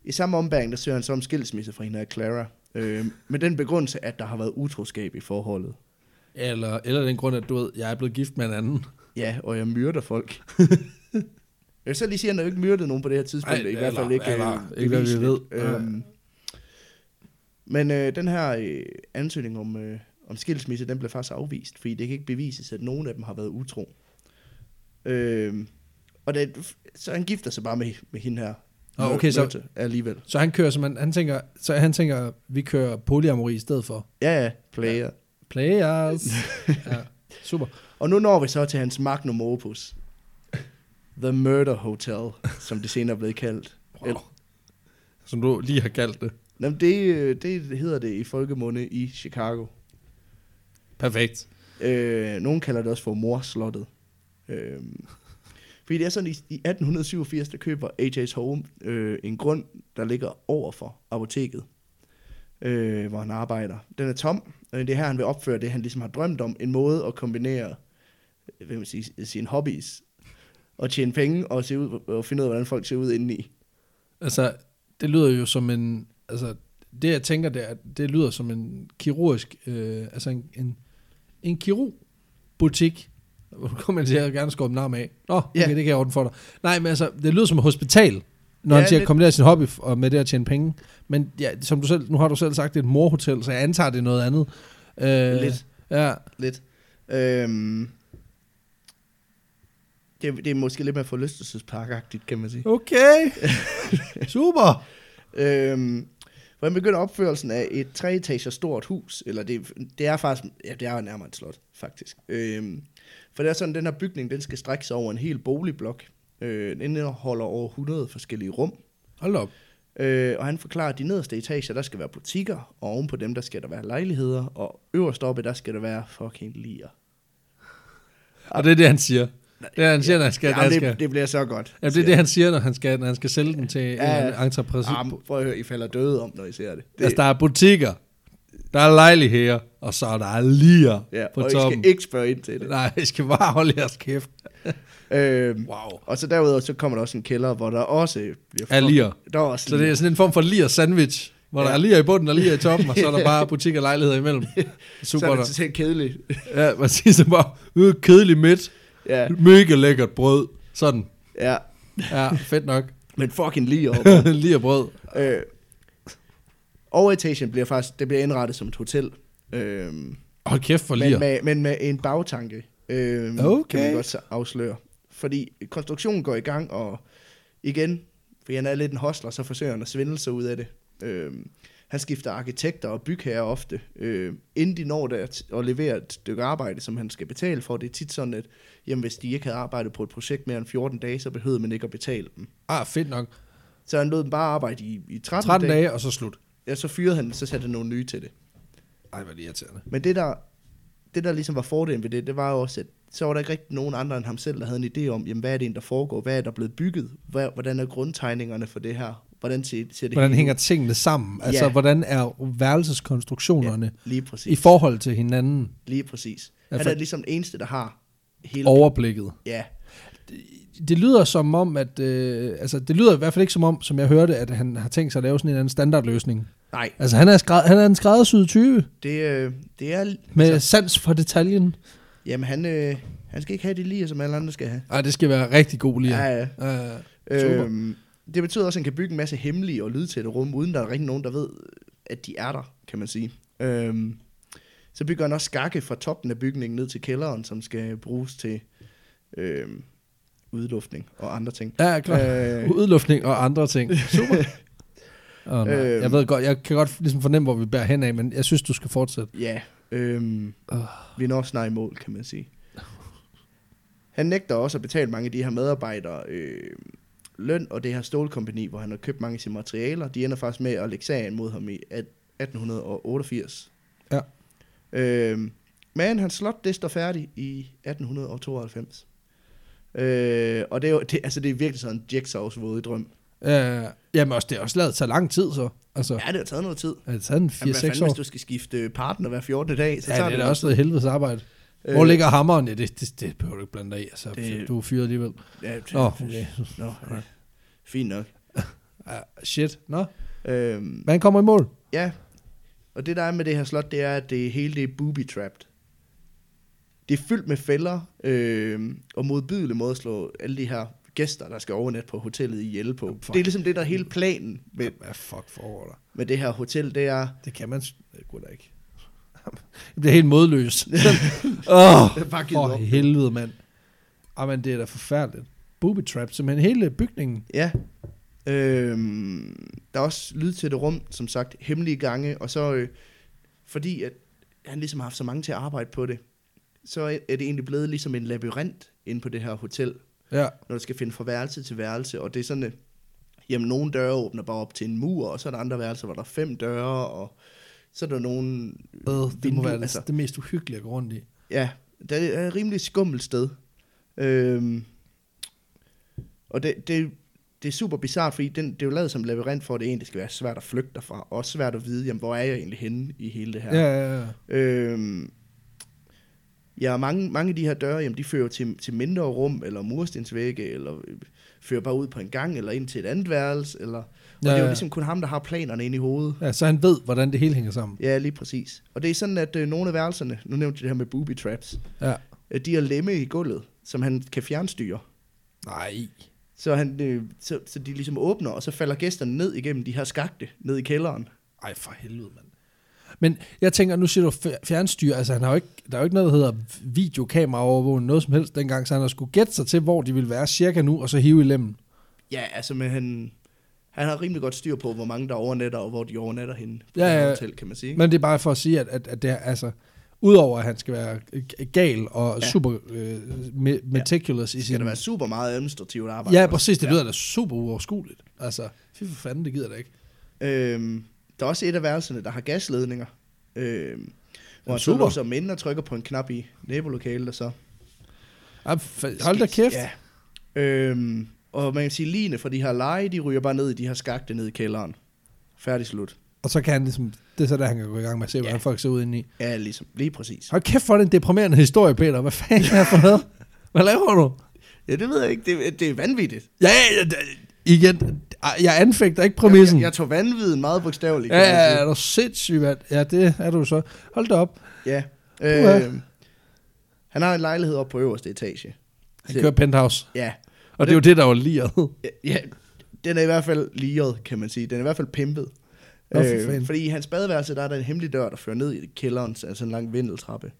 i samme ombæring, der søger han så om skilsmisse fra hende af Clara, øh, med den begrundelse, at der har været utroskab i forholdet.
Eller, eller den grund, at du ved, jeg er blevet gift med en anden.
Ja, og jeg myrder folk. jeg vil så lige sige, at han har jo ikke myrdet nogen på det her tidspunkt,
Ej,
Ej, i hvert fald
eller-
ikke,
eller-
øh,
ikke hvad vi
beviseligt.
ved. Nej.
Øhm, men øh, den her øh, ansøgning om, øh, om skilsmisse, den blev faktisk afvist, fordi det kan ikke bevises, at nogen af dem har været utro. Øhm, og det, så han gifter sig bare med, med hende her.
Nå, okay, så-
Myrte Alligevel.
Så han kører, som han, han tænker, så han tænker, vi kører polyamori i stedet for.
Ja, ja, player. Ja.
Players. ja. Super.
Og nu når vi så til hans magnum opus. The Murder Hotel, som det senere er blevet kaldt.
Wow. Som du lige har kaldt det.
Jamen, det, øh, det hedder det i folkemunde i Chicago.
Perfekt.
Øh, nogen kalder det også for morslottet. Øh, fordi det er sådan, i, i 1887, der køber A.J.'s Home øh, en grund, der ligger over for apoteket, øh, hvor han arbejder. Den er tom, og det er her, han vil opføre det, han ligesom har drømt om. En måde at kombinere øh, hvad kan man sige, sine hobbies og tjene penge og, se ud, og finde ud af, hvordan folk ser ud indeni.
Altså, det lyder jo som en... Altså, det jeg tænker, det, er, det lyder som en kirurgisk... Øh, altså, en, en, en kirurgbutik. Hvor du kommer til at gerne skubbe navn af. Nå, okay,
Ja.
yeah. det kan jeg ordne for dig. Nej, men altså, det lyder som et hospital, når ja,
Ja,
han siger,
det-
at kombinere sin hobby f- og med det at tjene penge. Men ja, som du selv, nu har du selv sagt, det er et morhotel, så jeg antager, det er noget andet. Øh,
Lidt.
Ja,
Lidt. Øhm, det, det er måske lidt mere forlystelsesparkagtigt, kan man sige.
okay. Super.
Øhm, hvor han begynder opførelsen af et treetager stort hus, eller det, det er faktisk, ja, det er nærmere et slot, faktisk. Øhm, for det er sådan, den her bygning, den skal strække sig over en hel boligblok. Øh, den indeholder over 100 forskellige rum.
Hold da op.
Øh, og han forklarer, at de nederste etager, der skal være butikker, og oven på dem, der skal der være lejligheder, og øverst oppe, der skal der være fucking lier.
Og det er det, han siger. Det er, han siger, når han skal... når
Jamen,
han
det,
skal-
det bliver så godt.
Ja, det er det, han siger, når han skal, når han skal sælge den til ja, en
ja.
eller anden entreprenør.
Ah, men prøv at høre, I falder døde om, når I ser det. det
Altså, der er butikker, der er lejligheder, og så er der lier
ja,
ja, på
og I
toppen.
skal ikke spørge ind til det.
Nej, I skal bare holde jeres kæft.
Øhm,
Wow.
Og så derudover, så kommer der også en kælder, hvor der også bliver...
Er lier.
Der er også
Så det er sådan en form for lier sandwich, hvor ja. der er lier i bunden og lier i toppen, og så er der bare butikker og lejligheder imellem.
Super
Super
så er
der.
det totalt kedeligt.
Ja, man siger så bare, øh, kedelig midt,
ja,
mega lækkert brød. Sådan.
ja.
Ja, fedt nok.
Men fucking lige over.
lier brød.
øh, overetagen bliver faktisk... Det bliver indrettet som et hotel. Øhm,
Hold kæft for lier.
men, med, men med en bagtanke. Øhm, Kan
Okay.
man godt så afsløre. Fordi konstruktionen går i gang, og igen, fordi han er lidt en hostler, så forsøger han at svindle sig ud af det. Øhm, han skifter arkitekter og bygherrer ofte, øh, inden de når der t- og leverer et stykke arbejde, som han skal betale for. Det er tit sådan, at jamen, hvis de ikke havde arbejdet på et projekt mere end 14 dage, så behøvede man ikke at betale dem.
Ah, fedt nok.
Så han lod dem bare arbejde i, i 13,
13
dage.
dage, og så slut.
Ja, så fyrede han, dem, så satte han nogle nye til det.
Ej, hvor er det irriterende.
Men det der, det der ligesom var fordelen ved det, det var jo også, at så var der ikke rigtig nogen andre end ham selv, der havde en idé om, jamen, hvad er det egentlig, der foregår, hvad er der blevet bygget, hvad, hvordan er grundtegningerne for det her, hvordan ser, ser det
Hvordan
hele
hænger
ud?
tingene sammen? Altså,
Ja.
hvordan er værelseskonstruktionerne ja.
Lige
i
præcis.
forhold til hinanden
Lige præcis.
Ja,
Han
for-
er ligesom den eneste, der har hele...
overblikket?
Ja,
det lyder som om, at... Øh, altså, det lyder i hvert fald ikke som om, som jeg hørte, at han har tænkt sig at lave sådan en eller anden standardløsning.
nej,
Altså, han er, skræd, han er en skræddersyet type
det, øh, det er...
med
altså,
sans for detaljen.
jamen, han, øh, han skal ikke have det lige, som alle andre skal have.
Ej, det skal være rigtig god lige.
Ja, ja.
Uh, Super.
Øhm, det betyder også, at han kan bygge en masse hemmelige og lydtætte rum, uden der er rigtig nogen, der ved, at de er der, kan man sige. Øhm, så bygger han også skakke fra toppen af bygningen ned til kælderen, som skal bruges til øhm, udluftning og andre ting.
ja, klart.
Øh,
Udluftning og andre ting. Super. Oh, nej.
Øhm.
Jeg ved godt, jeg kan godt ligesom fornemme, hvor vi bærer hen af, men jeg synes, du skal fortsætte.
ja, øhm,
Åh.
vi når snart i mål, kan man sige. Han nægter også at betale mange af de her medarbejdere øh, løn, og det her stålkompani, hvor han har købt mange af sine materialer, de ender faktisk med at lægge sagen mod ham i at- 1888.
Ja.
Øhm, men hans slot, det står færdigt i 1892. Øh, og det er, jo, det, altså, det er virkelig sådan en Jigsaws våde drøm.
Uh, jamen også, det er også lavet så lang tid, så. Altså,
Ja, det har taget noget tid.
er det taget en
Jamen, hvad
4-6
fanden,
år?
hvis du skal skifte partner hver 14. dag, så
Ja,
tager
det er da
noget
også
tid.
noget helvedes arbejde. Hvor
Øh,
ligger hammeren? Ja, det, det, det behøver du ikke blande dig i. Altså,
Det-
du er fyret alligevel.
Ja, det,
Nå, okay.
Nå, ja. Fint nok.
Ah, shit. Nå,
Øhm,
man kommer i mål.
ja, og det der er med det her slot, det er, at det hele det er booby-trapped. Det er fyldt med fælder øhm, og modbydelig måde at slå alle de her gæster, der skal overnatte på hotellet ihjel på.
Jamen, for-
det er ligesom det, der er hele planen med,
Hvad fuck foregår der?
med det her hotel, det er...
Det kan man s- det kunne da ikke. Jeg bliver helt modløs. Åh, oh,
Bare givet
for
op.
helvede, mand. Ah, men det er da forfærdeligt. Booby trap, simpelthen hele bygningen.
Ja. Øhm, der er også lyd til det rum, som sagt, hemmelige gange, og så øh, fordi at han ligesom har haft så mange til at arbejde på det, så er er det egentlig blevet ligesom en labyrint inde på det her hotel,
Ja,
når du skal finde fra værelse til værelse, og det er sådan, at jamen, nogle døre åbner bare op til en mur, og så er der andre værelser, hvor der er fem døre, og så er der nogle...
øh, det må
Vindue,
være det,
altså.
det mest uhyggelige at gå rundt i.
Ja, det er et rimelig skummelt sted. Øhm, og det, det, det er super bizart, fordi den, det er jo lavet som labyrint for, at det egentlig skal være svært at flygte derfra, og også svært at vide, jamen, hvor er jeg egentlig henne i hele det her.
Ja, ja, ja.
Øhm, ja, mange, mange af de her døre, jamen, de fører jo til, til mindre rum, eller murstensvægge, eller øh, fører bare ud på en gang, eller ind til et andet værelse, eller, og ja,
Ja,
det er jo
ja.
ligesom kun ham, der har planerne inde i hovedet.
ja så han ved, hvordan det hele hænger sammen.
Ja, lige præcis. Og det er sådan, at øh, nogle af værelserne, nu nævnte jeg det her med booby traps,
Ja.
øh, de har lemme i gulvet, som han kan fjernstyre.
Nej.
Så, han, øh, så, så de ligesom åbner, og så falder gæsterne ned igennem de her skagte, ned i kælderen.
Ej, for helvede, mand. Men jeg tænker, nu siger du fj- fjernstyr, altså han har jo ikke, der er jo ikke noget, der hedder videokameraovervågning, noget som helst dengang, så han har skulle gætte sig til, hvor de ville være cirka nu, og så hive i lemmen.
Ja, altså, men han, han har rimelig godt styr på, hvor mange der overnatter, og hvor de overnatter henne på
Ja,
det her
ja.
hotel, kan man sige.
Men det er bare for at sige, at, at, at det er, altså, udover at han skal være g- gal og
Ja.
ja. super øh, me- meticulous ja. i
skal
sin...
der være super meget administrativt arbejde.
Ja,
også.
præcis, det lyder da super uoverskueligt. Altså, fy for fanden, det gider da ikke.
Øhm, der er også et af værelserne, der har gasledninger. Øhm, hvor han så
super.
låser dem ind og trykker på en knap i nabolokalet, og så...
Ej, fa- hold da kæft. Ja.
Ja. Øhm, og man kan sige, ligene fra de her lege, de ryger bare ned i de her skagte ned i kælderen. Færdig slut.
Og så kan han ligesom, det er så der, han kan gå i gang med at se, hvordan
Ja.
ja. folk ser ud indeni.
Ja, ligesom. Lige præcis.
Hold kæft for det er en deprimerende historie, Peter. Hvad fanden er det for noget? Hvad laver du?
Ja, det ved jeg ikke. Det, det er vanvittigt.
Ja, ja, ja, ja, igen. Ej, Jeg anfægter ikke
Jeg,
præmissen.
jeg, jeg tog vanvittigt meget bogstaveligt.
Ja,
kan man
ja,
sige.
er du sindssyg, mand. Ja, det er du så. Hold da op.
Ja.
Uha.
Øhm, han har en lejlighed oppe på øverste etage.
Han
Se.
kører penthouse.
Ja.
Og det er jo det, der var liret.
Ja, Ja, den er i hvert fald liret, kan man sige. Den er i hvert fald pimpet. Øh,
Nå, for fanden.
fordi i hans badeværelse, der er der en hemmelig dør, der fører ned i kælderen, så- altså en lang vindeltrappe.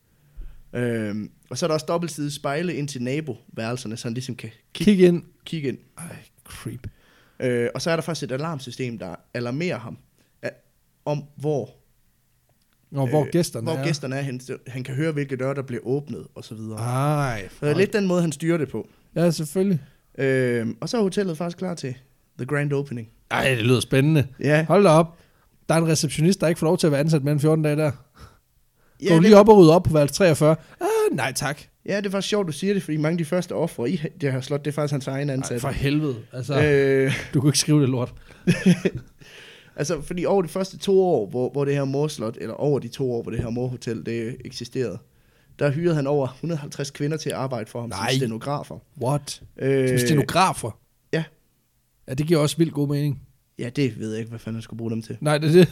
Øhm, og så er der også dobbeltsidede spejle ind til naboværelserne, så han ligesom kan kigge,
Kig ind.
kigge ind.
Ej, creep.
Øh, og så er der faktisk et alarmsystem, der alarmerer ham af, om, hvor,
Nå, hvor
øh,
gæsterne
hvor
er.
gæsterne er. Han, han kan høre, hvilke døre, der bliver åbnet, og så videre. Ah,
Ej,
det er
fuck.
lidt den måde, han styrer det på.
Ja, selvfølgelig.
Øhm, og så er hotellet faktisk klar til The Grand Opening.
Ej, det lyder spændende.
Ja,
Hold da op. Der er en receptionist, der ikke får lov til at være ansat mere end 14 dage der.
ja
Gå
det-
lige op og rydde op på værelse 43. Ah, nej tak.
Ja, det var sjovt, du siger det, fordi mange af de første ofre i det her slot, det er faktisk hans egen
Ej,
ansatte.
for helvede. Altså,
øh,
du kunne ikke skrive det lort.
Altså, fordi over de første to år, hvor, hvor det her morslot, eller over de to år, hvor det her morhotel, det eksisterede, der hyrede han over 150 kvinder til at arbejde for ham Nej.
Nej.
som stenografer.
What?
Øh,
Som stenografer.
ja.
Ja, det giver også vildt god mening.
Ja, det ved jeg ikke, hvad fanden han skulle bruge dem til.
Nej, det er det.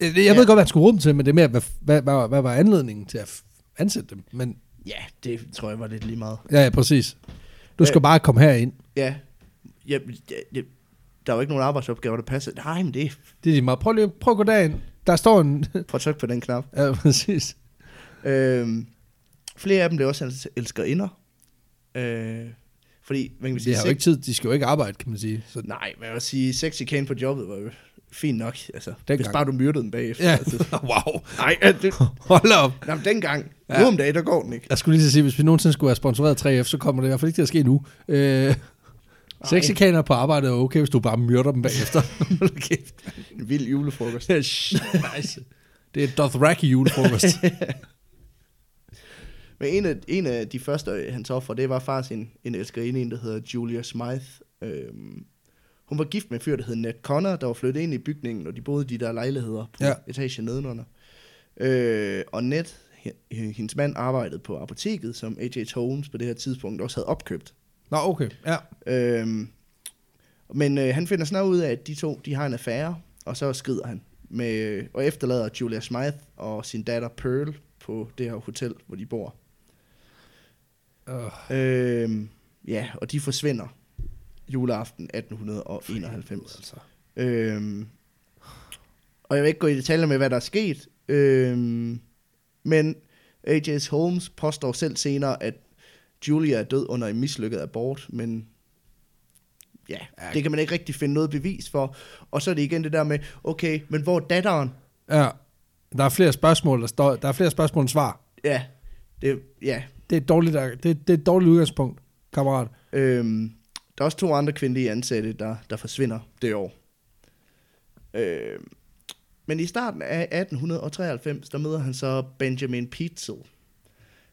Øh, Jeg ved
Ja.
godt, hvad han skulle bruge dem til, men det er mere, hvad, hvad, hvad, hvad var anledningen til at f- ansætte dem? Men
Ja, det tror jeg var lidt lige meget.
ja, ja præcis. Du
Øh.
skal bare komme herind.
Ja, ja, ja, ja der var ikke nogen arbejdsopgaver, der passede. Nej, men det er...
Det er lige meget. Prøv lige prøv at gå derind. Der står en...
Prøv at trykke på den knap.
ja, præcis.
Øhm, flere af dem blev også hans elskerinder. Øh, fordi, man kan
De
sige,
har jo ikke tid. De skal jo ikke arbejde, kan man sige. Så,
Nej, men jeg vil sige, sex chikane på jobbet var jo fint nok. Altså,
Dengang.
hvis bare du myrdede den bagefter.
ja,
Altså,
wow.
nej, ja, det,
Hold op.
nej, men dengang.
Ja.
Ja. Nu om dagen, der går den ikke.
Jeg skulle lige til at sige, hvis vi nogensinde skulle have sponsoreret 3F, så kommer det i hvert fald ikke til at ske nu. Øh, Sexikaner på arbejde er okay, hvis du bare myrder dem bagefter. Hold kæft.
En vild julefrokost.
Scheisse. det er et Dothraki julefrokost.
Men en af, en af de første, øh, hans offer, det var faktisk en, en elskerinde, en, der hedder Julia Smythe. Øhm, hun var gift med en fyr, der hed Ned Connor, der var flyttet ind i bygningen, og de boede i de der lejligheder på
Ja.
ja. etagen nedenunder. Øh, og Ned, h- h- hendes mand, arbejdede på apoteket, som A.J. Holmes på det her tidspunkt også havde opkøbt.
Nå, okay. Ja.
Øhm, men øh, han finder snart ud af, at de to de har en affære, og så skrider han. Med, øh, og efterlader Julia Smythe og sin datter Pearl på det her hotel, hvor de bor.
Uh,
Øhm, ja, og de forsvinder juleaften 1891.
altså.
Øhm, og jeg vil ikke gå i detaljer med, hvad der er sket, øhm, men A.J.S. Holmes påstår selv senere, at Julia er død under en mislykket abort, men ja,
Ja.
det kan man ikke rigtig finde noget bevis for. Og så er det igen det der med, okay, men hvor er datteren?
Ja. Der er flere spørgsmål, der, står, der er flere spørgsmål end svar.
Ja, det, ja.
Det er et dårligt, det, det er et dårligt udgangspunkt, kammerat.
Øhm, der er også to andre kvindelige ansatte, der, der forsvinder det år. Øhm, men i starten af 1893, der møder han så Benjamin Pitzel,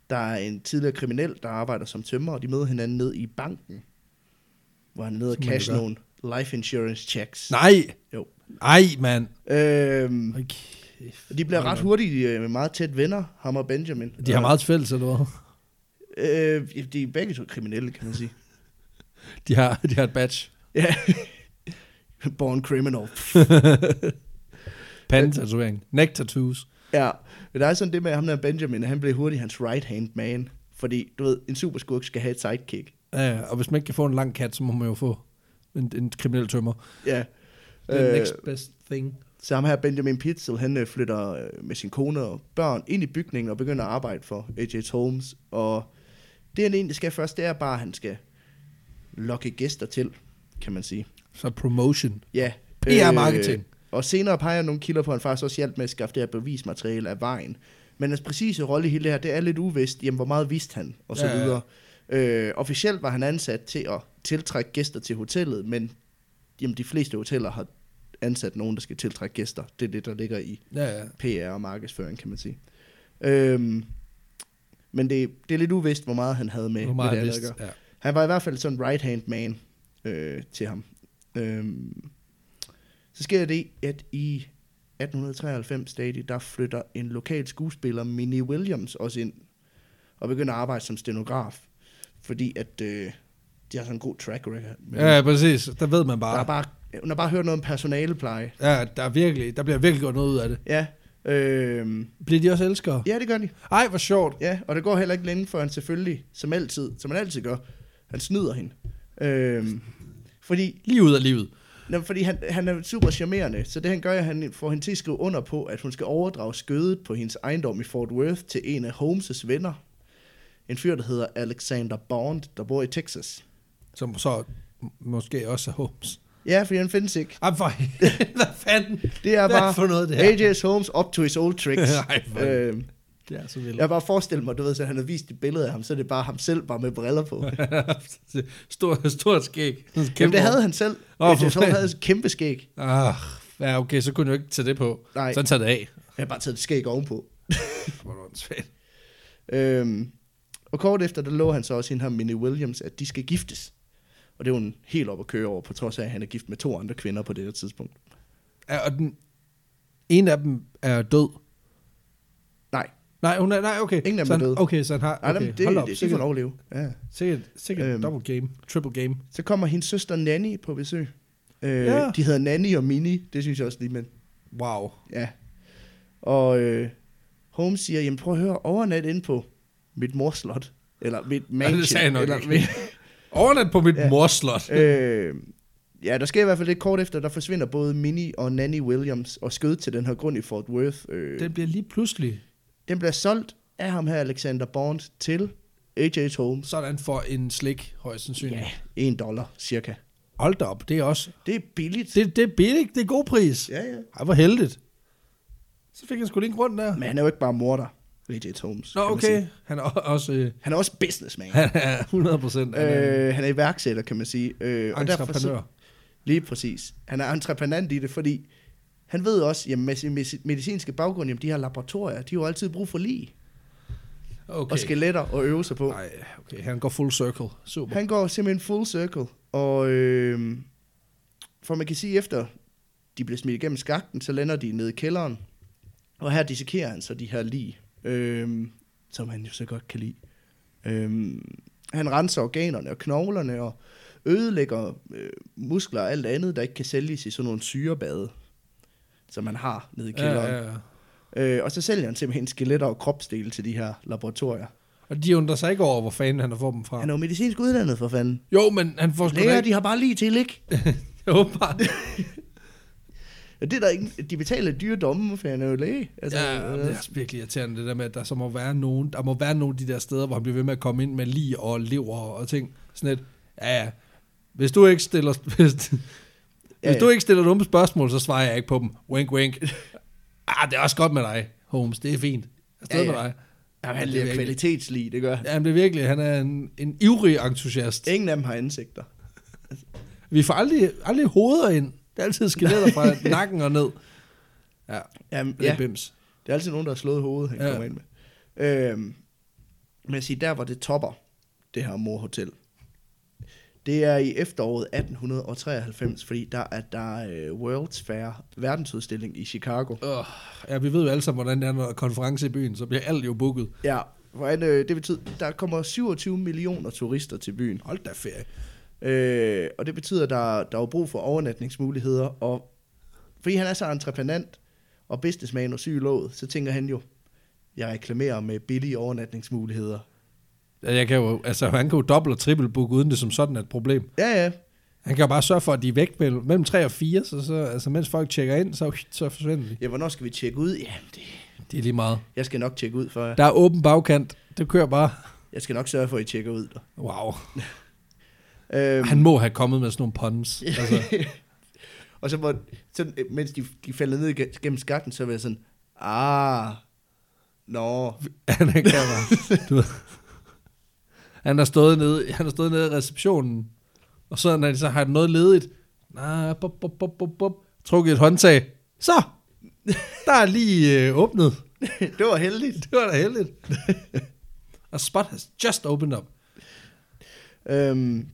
der er en tidligere kriminel, der arbejder som tømrer, og de møder hinanden ned i banken, hvor han er nede og
Som man jo
cash
gør.
nogle life insurance checks.
Nej.
Jo.
Nej, mand.
Øhm,
Okay.
de bliver ret hurtigt øh, meget tæt venner, ham og Benjamin.
De har meget til fælles, eller hvad?
Øh, de er begge to kriminelle, kan man sige.
De har, de har et badge.
Ja. Born criminal.
Pandetatovering. Neck tattoos.
Ja, men der er sådan det med at ham der Benjamin, at han blev hurtigt hans right hand man. Fordi, du ved, en superskurk skal have et sidekick.
Ja, og hvis man ikke kan få en lang kat, så må man jo få en, en kriminel tømmer.
Ja.
The
Øh,
next best thing.
så ham her Benjamin Pitzel, han øh, flytter øh, med sin kone og børn ind i bygningen og begynder at arbejde for A.J. Holmes. Og det han egentlig skal først, det er bare, at han skal lokke gæster til, kan man sige.
Så promotion.
Ja.
PR-marketing.
Øh, og senere peger nogle kilder på, at han faktisk også hjalp med at skaffe det her bevismateriale af vejen. Men hans præcise rolle i hele det her, det er lidt uvist. Jamen, hvor meget vidste han? Og så
Ja, ja.
videre. Øh, officielt var han ansat til at tiltrække gæster til hotellet, men jamen, de fleste hoteller har ansat nogen, der skal tiltrække gæster. Det er det, der ligger i
Ja, ja.
PR og markedsføring, kan man sige. Øhm, men det, det er lidt uvist, hvor meget han havde med,
Hvor
med
meget
det
han
andet at
vidste.
gøre.
Ja.
Han var i hvert fald sådan en right-hand man øh, til ham. Øhm, så sker det, at i 1893 stadig, der flytter en lokal skuespiller, Minnie Williams, også ind og begynder at arbejde som stenograf, fordi at øh, de har sådan en god track record. Men
ja, præcis. Der ved man
Der
bare.
er bare, hun har bare hørt noget om personalepleje.
Ja, der, er virkelig, der bliver virkelig gjort noget ud af det.
Ja, øh,
Bliver de også elskere?
ja, det gør de.
Ej, hvor sjovt.
Ja, og det går heller ikke længe, før han selvfølgelig, som altid, som han altid gør, han snyder hende. Øh, fordi
Lige ud af livet.
Nå, fordi han, han er super charmerende, så det han gør, er, at han får hende til at skrive under på, at hun skal overdrage skødet på hendes ejendom i Fort Worth til en af Holmes' venner. En fyr, der hedder Alexander Bond, der bor i Texas.
Som så måske også er Holmes.
Ja, fordi han findes ikke.
Ej, for Hvad fanden?
Det er
Hvad
bare
for noget, det her?
A.J.S. Holmes up to his old tricks.
Ej, hvor-
øh,
Det er så vildt.
jeg kan bare forestille mig, du ved, så han har vist et billede af ham, så er det bare ham selv, bare med briller på.
stort, stort skæg.
Jamen, det havde han selv.
Nå, for
Oh, A.J.S. Holmes
fanden.
havde et kæmpe skæg.
Ah, ja, okay, så kunne du ikke tage det på.
Nej.
Så han tager det af.
Jeg har bare taget et skæg ovenpå.
Hvor er det åndssvagt.
Øhm, og kort efter, der lå han så også hende her, Minnie Williams, at de skal giftes. Og det er hun helt op at køre over, på trods af, at han er gift med to andre kvinder på det her tidspunkt.
Ja, og den, en af dem er død.
Nej,
Nej, hun er, nej, okay.
Ingen af dem
så
er
han,
døde.
Okay, så han har, okay,
okay,
Ej,
det,
hold op,
det, det får
sikkert,
han overleve. Ja.
sikkert, sikkert
Øhm.
double game, triple game.
Så kommer hendes søster Nanny på besøg. Øh,
Ja.
De hedder Nanny og Minnie, det synes jeg også lige, men
Wow.
ja. Og øh, Holmes siger, jamen prøv at høre, overnat ind på mit morslot. Eller mit mansion.
sagde han nok
eller
ikke.
mit,
Overnat på mit
Ja.
ja. morslot.
øh, ja, der sker i hvert fald lidt kort efter, der forsvinder både Minnie og Nanny Williams og skød til den her grund i Fort Worth. Øh,
Den
den,
bliver lige pludselig
den bliver solgt af ham her, Alexander Bond, til A.J. Holmes.
sådan for en slik, højst sandsynligt.
Ja, en dollar cirka.
Hold da op, det er også...
Det er billigt.
Det, det er billigt, det er god pris.
Ja, ja.
Ej, hvor heldigt. Så fik han sgu lige en grund der.
Men han er jo ikke bare morder, A.J. Holmes.
Nå,
kan man
okay.
sige.
Han er o- også... Øh,
Han er også businessman.
han er 100 procent øh,
Øh, han er iværksætter, kan man sige. Øh, og derfor så-
entreprenør.
Lige præcis. Han er entreprenant i det, fordi han ved også, jamen med sin med- medicinske baggrund, jamen de her laboratorier, de har jo altid brug for lige okay.
Okay.
og skeletter at øve sig på.
Nej, okay, han går full circle. Super.
Han går simpelthen full circle, og øh, for man kan sige, efter de bliver smidt igennem skakten, så lander de nede i kælderen, og her dissekerer han så de her lige, øh, som han jo så godt kan lide. Øh, han renser organerne og knoglerne og ødelægger øh, muskler og alt andet, der ikke kan sælges i sådan nogle syrebade, som man har nede i kælderen. Ja,
ja.
ja. Øh, og så sælger han simpelthen skeletter og kropsdele til de her laboratorier.
Og de undrer sig ikke over, hvor fanden han har fået dem fra.
Han er jo medicinsk uddannet for fanden.
Jo, men han får sgu da
Læger,
ikke.
de har bare lige til, ikke?
Åbenbart.
Ja, det er der ikke, de betaler dyre domme, for han er jo læge. Altså,
Ja, men det er virkelig irriterende, det der med, at der så må være nogen, der må være nogle af de der steder, hvor han bliver ved med at komme ind med lige og lever og ting. Sådan et, ja, ja. Hvis du ikke stiller, hvis, ja,
Ja,
hvis
ja.
du ikke stiller dumme spørgsmål, så svarer jeg ikke på dem. Wink, wink. Ah, det er også godt med dig, Holmes. Det er fint. Afsted
Ja,
ja,
ja.
ja. med dig.
jamen, han
det er
lever
virkelig-
kvalitetslig, det gør han.
Ja, men det er virkelig, han er en, en ivrig entusiast.
Ingen af dem har ansigter.
Vi får aldrig, aldrig hoveder ind. Det er altid skeletter fra nakken og ned. Ja,
Jamen,
det er
ja,
ja. bims.
det er altid nogen, der har slået hovedet, han ja.
Ja.
kommer ind med. Øhm, men jeg siger, der hvor det topper, det her morhotel, det er i efteråret 1893, fordi der er der uh, World's Fair verdensudstilling i Chicago.
Oh, ja, vi ved jo alle sammen, hvordan det er, når der er konference i byen, så bliver alt jo booket.
Ja, hvordan, øh, det betyder, der kommer 27 millioner turister til byen.
Hold da ferie.
Øh, og det betyder, at der, der er jo brug for overnatningsmuligheder, og fordi han er så entreprenant og businessman og syg i låget, så tænker han jo, jeg reklamerer med billige overnatningsmuligheder.
Ja, Jeg kan jo, altså, han kan jo dobbelt og triple book, uden det som sådan er et problem.
Ja, ja,
Han kan jo bare sørge for, at de er væk mellem, mellem 3 og 4, så, så altså, mens folk tjekker ind, så, så forsvinder de.
ja hvornår skal vi tjekke ud? Ja, det,
Det er lige meget.
jeg skal nok tjekke ud, for jer.
Der er åben bagkant. Det kører bare.
jeg skal nok sørge for, at I tjekker ud. Der.
Wow.
Øhm,
Han må have kommet med sådan nogle puns. Altså,
og så, må, så øh, mens de, de falder ned ige- gennem skatten, så var jeg sådan, ah, nå,
han kan bare. Du ved. Han har stået nede, han har stået nede i receptionen, og så, når de så har noget ledigt, nah, bop, bop, bop, bop, bop, trukket et håndtag. Så, der er lige øh, åbnet.
det var heldigt.
Det var da heldigt. A spot has just opened up.
Øhm,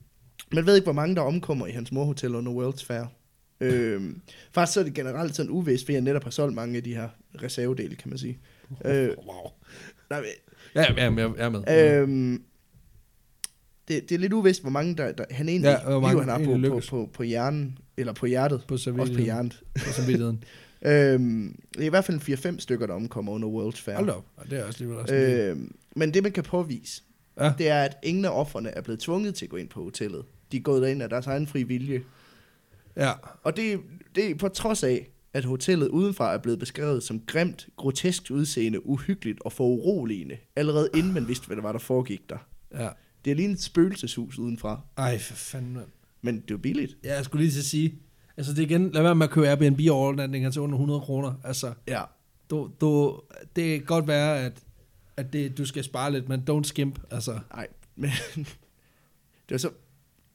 man ved ikke, hvor mange der omkommer i hans morhotel under World's Fair. Øhm, faktisk så er det generelt sådan uvist, fordi jeg netop har solgt mange af de her reservedele, kan man sige. Øh,
Wow.
nej, men,
Ja, ja, men jeg jeg er med.
øhm, det, det er lidt uvist, hvor mange der, der han egentlig
Ja, hvor mange
liv, han har
egentlig
på, på,
lykkes.
på, på hjernen, eller på hjertet,
På
også på
servilligheden.
hjernet.
På samvittigheden.
Øhm, det er i hvert fald en 4-5 stykker, der omkommer under World's Fair.
Hold da op. Og det er også lige også øh,
Øhm, men det, man kan påvise,
Ja.
det er, at ingen af offerne er blevet tvunget til at gå ind på hotellet. De er gået derind af deres egen fri vilje.
Ja.
Og det, det er på trods af, at hotellet udenfra er blevet beskrevet som grimt, grotesk udseende, uhyggeligt og foruroligende, allerede inden man vidste, hvad der var, der foregik der.
ja.
Det er lige et spøgelseshus udenfra,
Ej, for fanden, mand.
men det er jo billigt.
Ja, jeg skulle lige til at sige, altså det er igen, lad være med at købe Airbnb overnatninger til under 100 kroner. Altså,
Ja.
du, du, det kan godt være, at, at det, du skal spare lidt, men don't skimp. Altså,
Nej, men det er så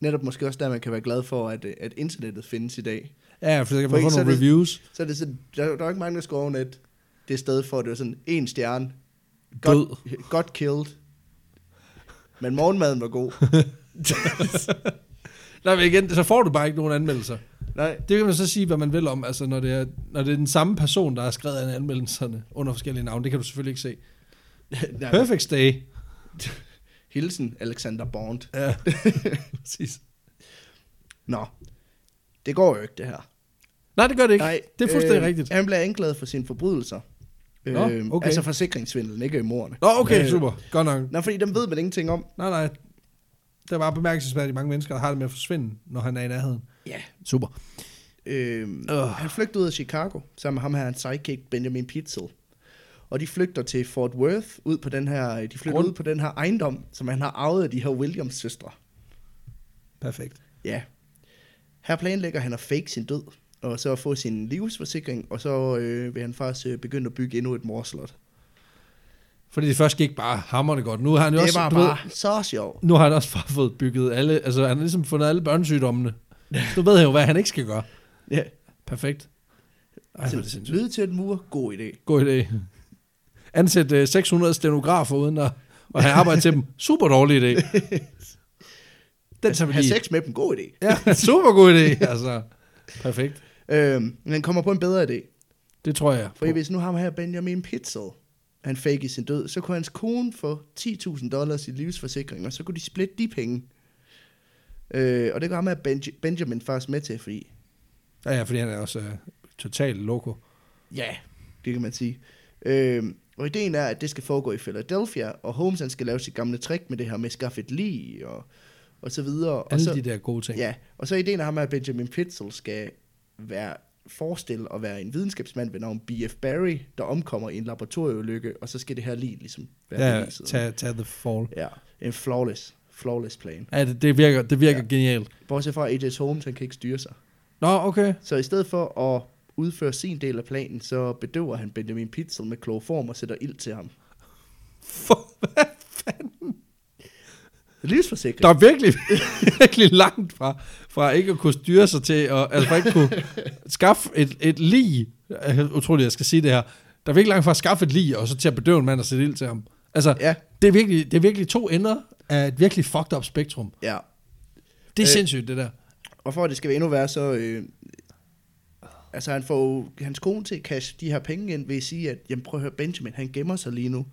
netop måske også der, man kan være glad for, at, øh, at internettet findes i dag.
ja, for så kan
For
man
ikke
få
så
nogle
er det-
reviews.
Så er det sådan, der, der er jo ikke mange, der skriver net det sted for, at det er sådan en stjerne,
Død.
Godt killed. Men morgenmaden var god.
Nej, men igen, så får du bare ikke nogen anmeldelser.
Nej,
Det kan man så sige, hvad man vil om, altså når det er, når det er den samme person, der har skrevet alle anmeldelserne under forskellige navne. Det kan du selvfølgelig ikke se.
nej.
Perfect Day.
Hilsen, Alexander Bond.
Ja, præcis.
Nå, det går jo ikke det her. øhm,
Nej, det gør det ikke. Nej, det er fuldstændig øh, rigtigt.
Han bliver anklaget for sine forbrydelser.
Nå, okay.
Altså forsikringssvindelen, ikke morderne.
Nå, okay,
Øh,
super. Godt nok.
Nå, fordi dem ved man ingenting om.
Nej, nej. Det er bare bemærkelsesværdigt, at mange mennesker der har det med at forsvinde, når han er i nærheden.
Ja.
Super.
Øhm,
Åh.
Han flygtede ud af Chicago, sammen med ham her, hans sidekick Benjamin Pitzel. Og de flygter til Fort Worth, ud på den her, de flytter
Grund.
ud på den her ejendom, som han har arvet af de her Williams søstre.
Perfekt.
Ja. Her planlægger han at fake sin død, og så at få sin livsforsikring, og så øh, vil han faktisk øh, begynde at bygge endnu et morslot.
Fordi det først gik bare hammerne godt. Nu har han jo
Det
også,
var
du
bare så sjovt.
nu har han også bare fået bygget alle, altså han har ligesom fundet alle børnesygdommene. Nu ved han jo, hvad han ikke skal gøre.
Ja.
Perfekt. Ej, hvor er det sindssygt.
Lyde til en mur, god idé.
God idé. Ansæt øh, 600 stenografer uden at, at have arbejde til dem. Super dårlig idé. Den tager vi
Have
lige.
sex med dem, god idé.
Ja, super god idé. Altså, perfekt.
Øhm, men han kommer på en bedre idé.
Det tror jeg.
For hvis nu ham her Benjamin Pitzel, han fake i sin død, så kunne hans kone få 10.000 dollars i livsforsikring, og så kunne de splitte de penge. Øh, og det går ham her Benj- Benjamin faktisk med til, fordi
Ja, ja, fordi han er også øh, totalt loco.
ja, det kan man sige. Øh, og ideen er, at det skal foregå i Philadelphia, og Holmes han skal lave sit gamle trick med det her med at skaffe et lig, og, og så videre. og
Alle
så,
de der gode ting.
Ja, og så er ideen af ham, er, at Benjamin Pitzel skal være, forestille at være en videnskabsmand ved navn B.F. Barry, der omkommer i en laboratorieulykke, og så skal det her lige ligesom være
ja
beviset.
tag, tag the fall.
ja, en flawless, flawless plan.
Ja, det, det virker, det virker ja. genialt.
Bortset fra A.J. Holmes, han kan ikke styre sig.
Nå, okay.
Så i stedet for at udføre sin del af planen, så bedøver han Benjamin Pitzel med kloroform og sætter ild til ham.
For,
Livsforsikring.
der er virkelig, virkelig langt fra, fra ikke at kunne styre sig til, og, altså fra ikke kunne skaffe et, et lig. Jeg utroligt, jeg skal sige det her. Der er virkelig langt fra at skaffe et lig, og så til at bedøve en mand og sætte ild til ham. Altså, ja.
Ja,
det, er virkelig, det er virkelig to ender af et virkelig fucked up spektrum.
ja.
Det er
Øh.
øh. sindssygt, det der.
Og for at det skal være endnu værre, så... Øh, altså, han får jo hans kone til at cashe de her penge ind ved at sige, at jamen, prøv at høre, Benjamin, han gemmer sig lige nu.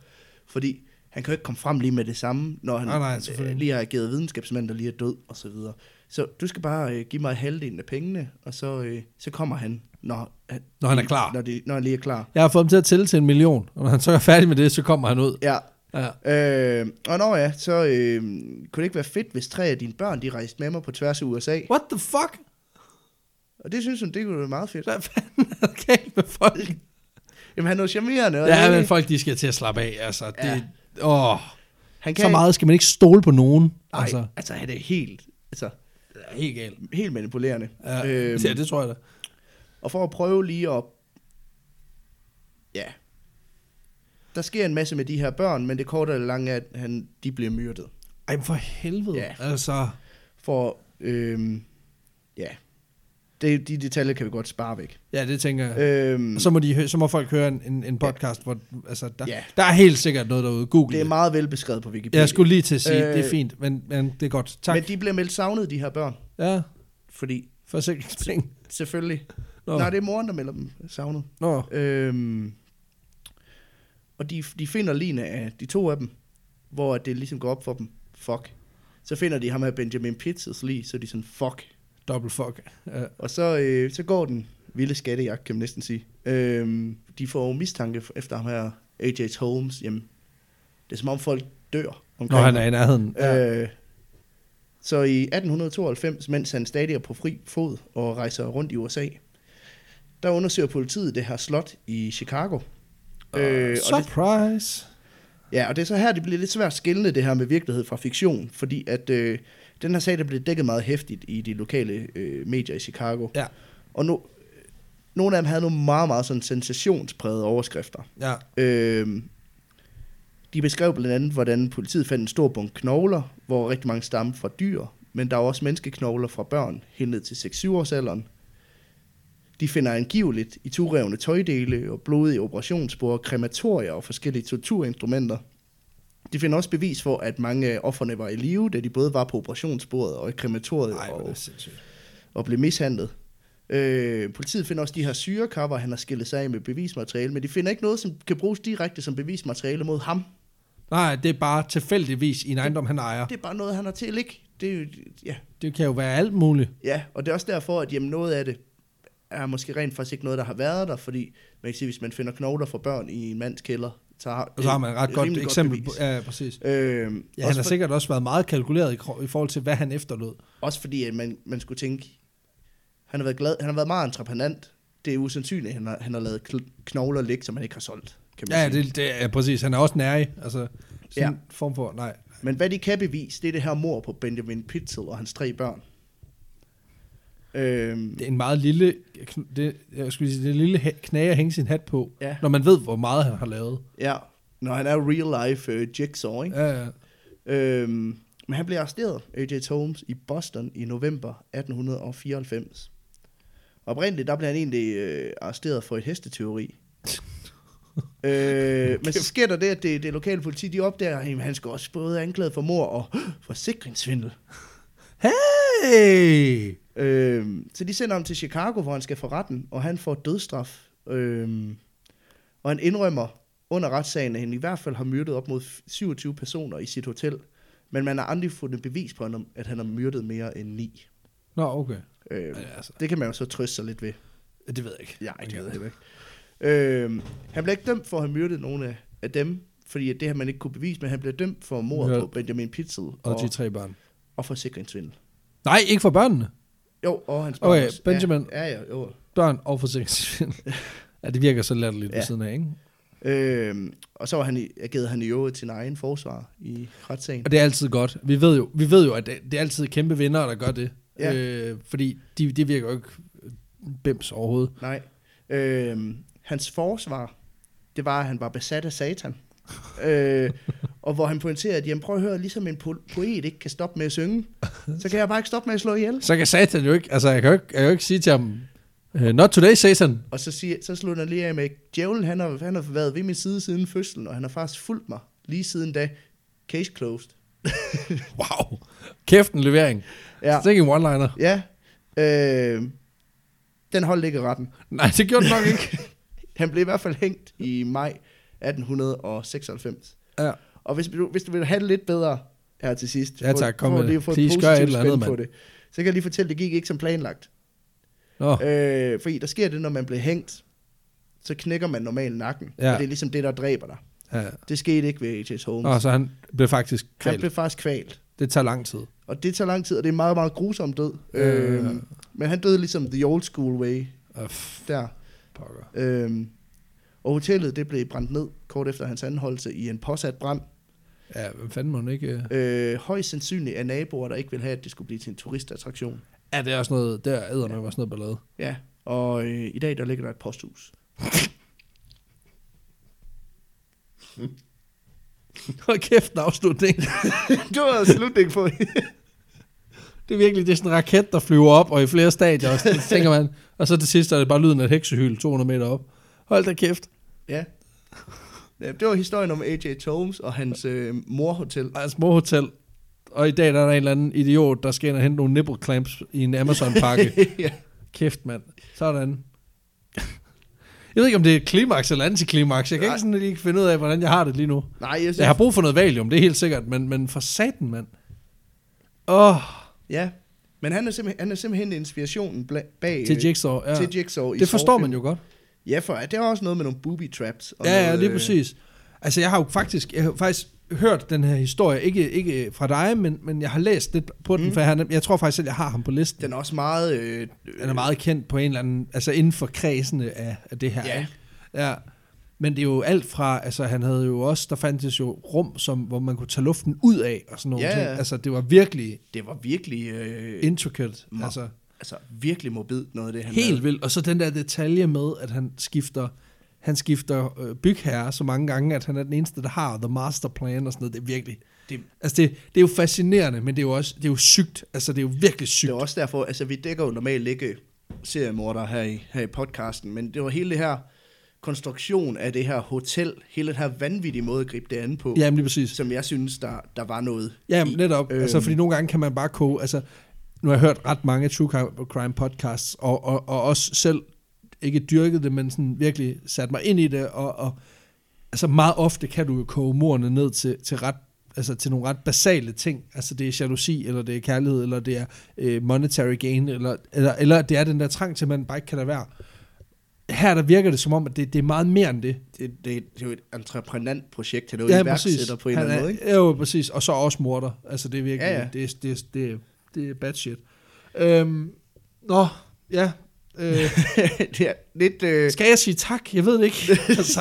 Fordi han kan jo ikke komme frem lige med det samme, når han
Nej, nej,
øh,
selvfølgelig.
lige har ageret videnskabsmand, der lige er død, og så videre. Så du skal bare øh, give mig halvdelen af pengene, og så, øh, så kommer han, når han,
Når han er klar.
Når, det, når han lige er klar.
Jeg har fået dem til at tælle til en million, og når han så er færdig med det, så kommer han ud.
Ja,
Ja.
øh, og når ja, så øh, kunne det ikke være fedt, hvis tre af dine børn, de rejste med mig på tværs af USA.
What the fuck?
Og det synes hun, det kunne være meget fedt.
Hvad fanden er der galt med folk?
Jamen, han er jo charmerende. og
Ja,
det-
men folk, de skal til at slappe af, altså. Det,
Ja.
åh,
Han
så meget skal man ikke stole på nogen.
Nej,
Altså,
altså. altså han er helt, altså,
det er helt galt.
helt manipulerende.
Ja,
Øhm,
ja, det tror jeg da.
Og for at prøve lige at... Ja. Der sker en masse med de her børn, men det korte og det lange er, at han, de bliver myrdet.
Ej, men for helvede.
Ja.
Altså,
For, øhm, ja. Det, de detaljer kan vi godt spare væk.
ja, det tænker jeg.
Øhm,
Og så må, de, hø- så må folk høre en, en, en podcast, hvor altså, der,
Ja.
der er helt sikkert noget derude. Google
det er meget velbeskrevet på Wikipedia.
Jeg skulle lige til at sige,
Øh,
det er fint, men, men det er godt. Tak.
Men de bliver meldt savnet, de her børn.
Ja,
Fordi,
forsikringspenge.
selvfølgelig.
Nå.
Nej, det er moren, der melder dem savnet.
Nå,
Øhm, og de, de finder ligene af de to af dem, hvor det ligesom går op for dem. Fuck. Så finder de ham af Benjamin Pitzels lige, så er de sådan, fuck.
dobbelt fuck. Ja.
Og så, øh, så går den vilde skattejagt, kan man næsten sige. Øhm, de får jo mistanke f- efter ham her, A.J. Holmes. Jamen, det er som om folk dør
Når
omkring
han er i nærheden. Ja.
ham. Øh, så i 1892, mens han stadig er på fri fod og rejser rundt i USA, der undersøger politiet det her slot i Chicago. Øh, og det,
Surprise.
ja, og det er så her, det bliver lidt svært skillende, det her med virkelighed fra fiktion, fordi at øh, den her sag, der blev dækket meget hæftigt i de lokale øh, medier i Chicago.
Ja.
Og no, nogle af dem havde nogle meget, meget sådan sensationsprægede overskrifter.
Ja.
Øh, de beskrev blandt andet, hvordan politiet fandt en stor bunke knogler, hvor rigtig mange stammer fra dyr, men der var også menneskeknogler fra børn, helt ned til 6-7 års alderen. De finder angiveligt i turevne tøjdele og blodige operationsspor, krematorier og forskellige torturinstrumenter. De finder også bevis for, at mange af offerne var i live, da de både var på operationsbordet og i krematoriet
Nej, det
og,
er sindssygt.
og blev mishandlet. Øh, politiet finder også de her syrekapper, han har skillet sig af med bevismateriale, men de finder ikke noget, som kan bruges direkte som bevismateriale mod ham.
Nej, det er bare tilfældigvis i en ejendom, han ejer.
Det er bare noget, han har til, ikke? Det er jo, ja,
Det kan jo være alt muligt.
Ja, og det er også derfor, at jamen, noget af det er måske rent faktisk ikke noget, der har været der, fordi man kan sige, hvis man finder knogler fra børn i en mands kælder, så har,
Og så har man et ret godt
rimelig
eksempel. Godt
bevis.
ja, præcis.
Øhm,
Ja,
også,
han har
for,
sikkert også været meget kalkuleret i, kro- i forhold til, hvad han efterlod.
også fordi, at man, man skulle tænke, han har været glad, han har været meget entreprenant. Det er usandsynligt, at han har, han har lavet kl- knogler ligge, som han ikke har solgt, kan man
Ja,
sige.
det, det er præcis. Han er også nærig. Altså, sådan
Ja.
ja. form for, nej.
Men hvad de kan bevise, det er det her mor på Benjamin Pitzel og hans tre børn. Øhm,
Det er en meget lille, kn- det, jeg skulle sige, det er en lille hæ- knage at hænge sin hat på,
Ja.
når man ved, hvor meget han har lavet.
ja, når han er real life øh, jigsaw, ikke?
Ja, ja.
Øhm, men han blev arresteret, A.J. Holmes, i Boston i november 1894. Oprindeligt, der blev han egentlig øh, arresteret for et hesteteori. øh, men så sker der det, at det, det lokale politi, de opdager, at han skal også både anklaget for mor og forsikringssvindel.
Hey!
Øh, så de sender ham til Chicago, hvor han skal for retten, og han får dødsstraf. Øh, og han indrømmer under retssagen, at han i hvert fald har myrdet op mod 27 personer i sit hotel. Men man har aldrig fundet bevis på, at han har myrdet mere end ni.
Nå, okay.
Øh,
Ja, altså,
det kan man jo så trøste sig lidt ved.
det ved jeg ikke.
Ja, det ved jeg heller ikke. Øh, han blev ikke dømt for at have myrdet nogen af- af dem, fordi at det har man ikke kunne bevise, men han blev dømt for mordet
Ja.
på Benjamin Pitzel
Og
og,
de tre børn.
og forsikringssvindel.
Nej, ikke for børnene.
Jo, og hans
Okay,
også.
Benjamin.
Ja, ja, ja jo.
Børn og forsikringsvindel. ja, det virker så latterligt ja. ved
Ja.
siden af, ikke?
Øhm, og så var han, i- agerede han i øvrigt sin egen forsvar i retssagen.
Og det er altid godt. Vi ved jo, vi ved jo at det, det er altid kæmpe vinder, der gør det.
Ja.
Øh, fordi de, det virker jo ikke bims overhovedet.
Nej. Øhm, hans forsvar, det var, at han var besat af satan. øh, og hvor han pointerede, at jamen, prøv at høre, ligesom en po- poet ikke kan stoppe med at synge, så kan jeg bare ikke stoppe med at slå ihjel.
Så kan satan jo ikke, altså jeg kan jo ikke, jeg kan jo ikke sige til ham, "Øh, not today, satan.
Og så, siger, så slutter han lige af med, djævlen han har, han har været ved min side siden fødslen, og han har faktisk fulgt mig lige siden da. Case closed.
Wow. Kæft en levering. Ja.
Ja,
Det er ikke en one-liner.
ja. Øh, den holdt ikke i retten.
Nej, det gjorde det nok ikke.
Han blev i hvert fald hængt i maj 1896.
Ja.
Og hvis du, hvis du vil have det lidt bedre her til sidst,
Ja, tak, kom
for
med
lige
det.
at få et
Please, gør et
positivt
eller andet,
spin på
mand.
det, så kan jeg lige fortælle, at det gik ikke som planlagt.
Nå,
Øh, fordi der sker det, når man bliver hængt, så knækker man normalt nakken.
Ja.
Og det er ligesom det, der dræber dig.
ja.
Det skete ikke ved H.S. Holmes.
Nå, så han blev faktisk
han
kvalt.
blev faktisk kvalt.
Det tager lang tid.
Og det tager lang tid, og det er en meget, meget grusom død.
Øh.
Øh. men han døde ligesom the old school way
Øh, f-
der.
pokker.
Øhm, og hotellet det blev brændt ned kort efter hans anholdelse i en påsat brand.
Ja, hvem fanden må hun ikke... øh?
Øh, højst sandsynligt af naboer, der ikke ville have, at det skulle blive til en turistattraktion.
Ja, det er også noget... Der æder med også noget ballade.
Ja, og øh, i dag der ligger der et posthus.
Hold kæft en afslutning.
det var slutningen på
Det er virkelig det er sådan en raket, der flyver op, og i flere stadier, og så tænker man... Og så til sidst er det bare lyden af et heksehyl 200 meter op. Hold da kæft.
ja. ja. Det var historien om A.J. Holmes og hans øh, morhotel.
Og hans morhotel. Og i dag der er der en eller anden idiot, der skal ind og hente nogle nipple clamps i en Amazon-pakke.
ja.
Kæft, mand. Sådan. Jeg ved ikke, om det er et klimaks eller antiklimaks. Jeg kan
Nej.
ikke sådan lige finde ud af, hvordan jeg har det lige nu.
Nej, jeg synes,
Jeg har brug for noget valium, det er helt sikkert, men, men for satan, mand. Åh, oh,
ja. Men han er simpelthen, han er simpelthen inspirationen bla- bag... øh,
til Jigsaw. Ja.
Til Jigsaw. i
Det forstår
Saw
man
Film.
jo godt.
Ja, for det er også noget med nogle booby traps. Og
Ja,
noget,
ja, lige
øh,
præcis. Altså, jeg har jo faktisk, jeg har jo faktisk hørt den her historie, ikke, ikke fra dig, men, men jeg har læst lidt på den,
Mm.
for jeg, har, nem- jeg tror faktisk, at jeg har ham på listen.
Den er også meget... Øh, øh,
Han er meget kendt på en eller anden, altså inden for kredsene af, af det her.
Ja.
ja. Men det er jo alt fra, altså han havde jo også, der fandtes jo rum, som, hvor man kunne tage luften ud af, og sådan nogle
Ja,
ja,
ja.
ting. Altså det var virkelig
Det var virkelig... Øh,
intricate,
Meget.
altså
altså, virkelig mobilt noget af det, han
helt vildt. Og så den der detalje med, at han skifter, han skifter øh, bygherre så mange gange, at han er den eneste, der har the master plan og sådan noget. Det er virkelig,
Det-
det, altså det, det er jo fascinerende, men det er jo også, det er jo sygt, altså det er jo virkelig sygt.
Det er også derfor, altså vi dækker jo normalt ikke seriemordere her i, her i podcasten, men det var hele det her konstruktion af det her hotel, hele den her vanvittige måde at gribe det an på,
Jamen lige præcis.
som jeg synes, der, der var noget
Ja,
i.
netop. Øhm. Altså,
Øhm.
fordi nogle gange kan man bare koge... Altså, nu har jeg hørt ret mange true crime podcasts, og, og, og også selv ikke dyrket det, men sådan virkelig sat mig ind i det, og, og altså meget ofte kan du jo koge morerne ned til, til ret altså til nogle ret basale ting. Altså det er jalousi, eller det er kærlighed, eller det er øh, monetary gain, eller, eller, eller det er den der trang til, at man bare ikke kan lade være. Her der virker det som om, at det, det er meget mere end det.
Det, det, det er jo et entreprenant projekt, han er jo ja, iværksætter på en
Han
eller anden måde, ikke?
er, Jo, præcis. Og så også morder. Altså, det er virkelig, ja,
Ja,
ja.
ja.
Det, er- det, er- det, er- det er bad shit. Øhm, nå, ja. Øh,
det, er lidt, øh,
skal jeg sige tak? Jeg ved det ikke. altså,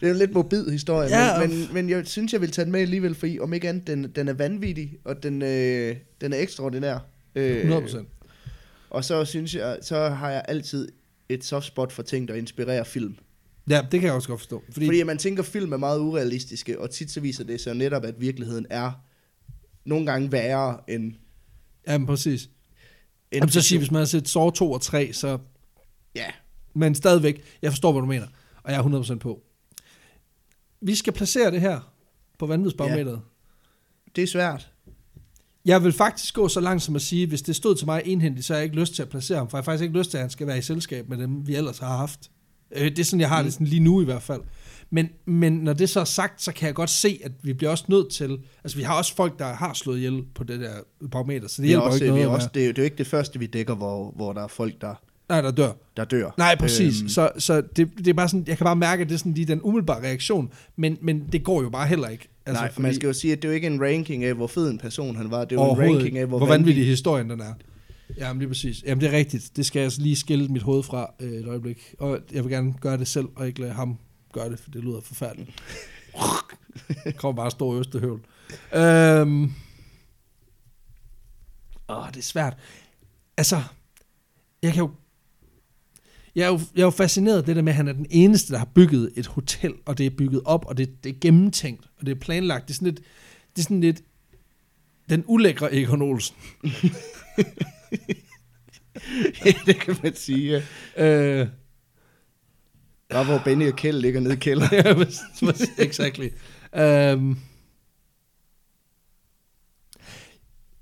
det er jo en lidt morbid historie,
Ja,
ja, men, men, men jeg synes, jeg vil tage den med alligevel, fordi om ikke andet, den, den er vanvittig, og den, øh, den er ekstraordinær. Øh,
100%.
Og så synes jeg, så har jeg altid et soft spot for ting, der inspirerer film.
Ja, det kan jeg også godt forstå. Fordi,
Fordi,
Fordi
fordi man tænker, film er meget urealistiske, og tit så viser det sig netop, at virkeligheden er nogle gange værre end... end
jamen, præcis. Jamen, så siger, hvis man har set Saw 2 og 3, så...
Ja,
Men stadigvæk, jeg forstår, hvad du mener. Og jeg er 100% på. Vi skal placere det her på vanvidsbarometeret. Ja.
det er svært.
Jeg vil faktisk gå så langt som at sige, hvis det stod til mig enhændigt, så har jeg ikke lyst til at placere ham, for jeg har faktisk ikke lyst til, at han skal være i selskab med dem, vi ellers har haft. Øh, det er sådan, jeg har
Mm.
det sådan lige nu i hvert fald. Men, men når det så er sagt, så kan jeg godt se, at vi bliver også nødt til... Altså, vi har også folk, der har slået ihjel på det der barometer, så det
Vi er
hjælper
også,
også, ikke
vi
noget.
er
at
også,
være-
det, er jo, det er jo ikke det første, vi dækker, hvor, hvor der er folk, der,
Nej, der dør.
der dør.
Nej, præcis. Øhm. Så, så det, det er bare sådan, jeg kan bare mærke, at det er sådan lige den umiddelbare reaktion, men, men det går jo bare heller ikke.
Altså, Nej, fordi... man skal jo sige, at det er jo ikke en ranking af, hvor fed en person han var. Det er jo en
Overhovedet
ranking
ikke.
af, hvor,
hvor vanvittig historien den er. Jamen lige præcis. Jamen det er rigtigt. Det skal jeg altså lige skille mit hoved fra øh, et øjeblik. Og jeg vil gerne gøre det selv, og ikke lade ham gøre det, for det lyder forfærdeligt. Kom bare stor østehøvl. Øhm. Åh, det er svært. Altså, jeg kan jo jeg er, jo, jeg er jo fascineret af det der med, at han er den eneste, der har bygget et hotel, og det er bygget op, og det, det er gennemtænkt, og det er planlagt. Det er sådan lidt, det er sådan lidt den ulækre Egon Olsen.
det kan man sige. ja.
Øh,
Bare hvor Benny og Kjeld ligger nede i kælderen.
ja, exactly. øhm,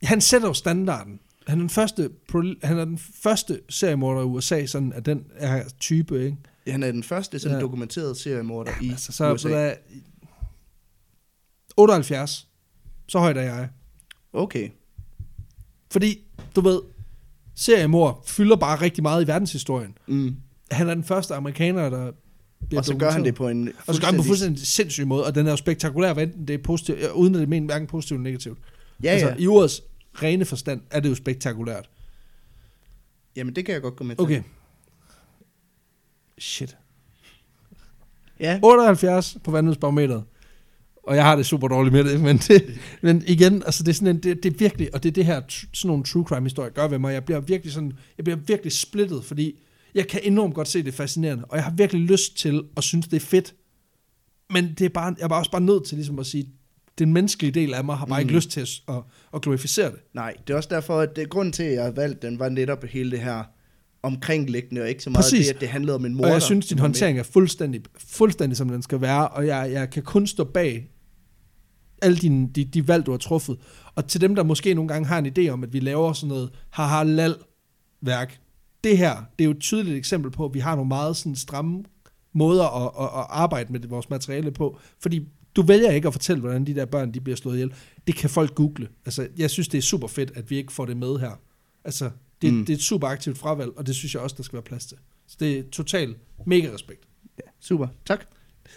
han sætter jo standarden. Han er den første, pro- han er den første seriemorder i USA, sådan af den her type, ikke?
Han er den første sådan
Ja.
ja. dokumenteret seriemorder i
Altså, så, så
USA.
der er 78. Så højt er jeg.
Okay.
Fordi, du ved, seriemord fylder bare rigtig meget i verdenshistorien.
Mm.
Han er den første amerikaner, der bliver
Og så gør
dokumenteret.
han det på en
Og så gør han på fuldstændig sindssyg måde, og den er jo spektakulær, hvad enten det er positivt, øh, uden at det mener hverken positivt eller negativt.
Ja,
altså,
ja.
i ordets rene forstand er det jo spektakulært.
Jamen, det kan jeg godt komme med til.
Okay. Shit.
Ja.
78 på vandhedsbarometeret. Og jeg har det super dårligt med det, men, det, men igen, altså det er sådan en, det, det er virkelig, og det er det her, tr- sådan nogle true crime historier gør ved mig, jeg bliver virkelig sådan, jeg bliver virkelig splittet, fordi jeg kan enormt godt se det er fascinerende, og jeg har virkelig lyst til at synes, det er fedt, men det er bare, jeg er bare også bare nødt til ligesom at sige, den menneskelige del af mig har bare mm. ikke lyst til at, at, at glorificere det.
Nej, det er også derfor, at det, grunden til, at jeg har valgt den, var netop hele det her omkringliggende, og ikke så meget
Præcis.
det, at det handlede om en morder.
Og jeg synes, din
Det var mere-
håndtering er fuldstændig, fuldstændig, som den skal være, og jeg, jeg kan kun stå bag alle dine, de, de valg, du har truffet. Og til dem, der måske nogle gange har en idé om, at vi laver sådan noget haha lal værk det her, det er jo et tydeligt eksempel på, at vi har nogle meget sådan stramme måder at, at, at arbejde med det- vores materiale på, fordi du vælger ikke at fortælle, hvordan de der børn de bliver slået ihjel. Det kan folk google. Altså, jeg synes, det er super fedt, at vi ikke får det med her. Altså, det, mm.
Mm.
det er et super aktivt fravalg, og det synes jeg også, der skal være plads til. Så det er totalt mega respekt.
Ja, super, tak.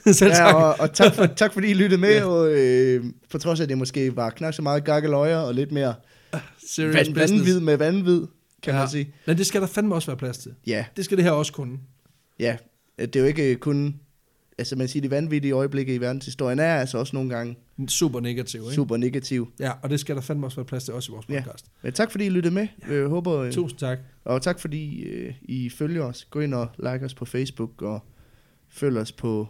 Selv tak.
Ja, og, og tak, for, tak fordi I lyttede med,
Ja.
ja. og øh, på trods af, at det måske var knap så meget gakkeløjer og lidt mere
Serious
van,
business.
vanvid med vanvid,
Ja.
kan ja. man sige.
Men det skal der fandme også være plads til.
Ja,
Det skal det her også kunne.
ja. Det er jo ikke kun, altså man siger, de vanvittige øjeblikke i verdenshistorien er altså også nogle gange
Super negativ, ikke? Super.
super negativ.
Ja, og det skal der fandme også være plads til, også i vores
Ja.
podcast.
Men tak fordi I lyttede med, øh, håber,
Ja.
øh,
Tusind tak.
og tak fordi øh, I følger os. Gå ind og like os på Facebook, og følg os på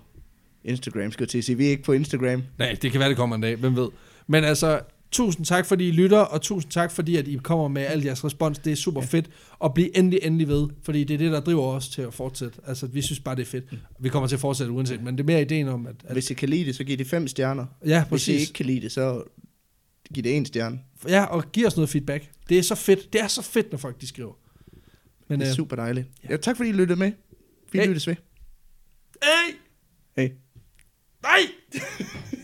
Instagram, skal jeg til at sige. Vi er ikke på Instagram.
Nej, det kan være, det kommer en dag, hvem ved. Men altså, Tusind tak, fordi I lytter, og tusind tak, fordi at I kommer med al jeres respons. Det er super fedt, og bliv endelig, endelig ved, fordi det er det, der driver os til at fortsætte. Altså, vi synes bare, det er fedt. Vi kommer til at fortsætte uanset, men det er mere ideen om, at... at
Mm. Hvis I kan lide det, så giv det fem stjerner.
ja,
Hvis I
præcis.
ikke kan lide det, så giv det en stjerne.
Ja, og giv os noget feedback. Det er så fedt. Det er så fedt, når folk de skriver. Men,
Men, det er
øh,
super dejligt. Ja, tak fordi I lyttede med. Vi
Hey.
lyttes ved.
Hey!
Hey.
Nej!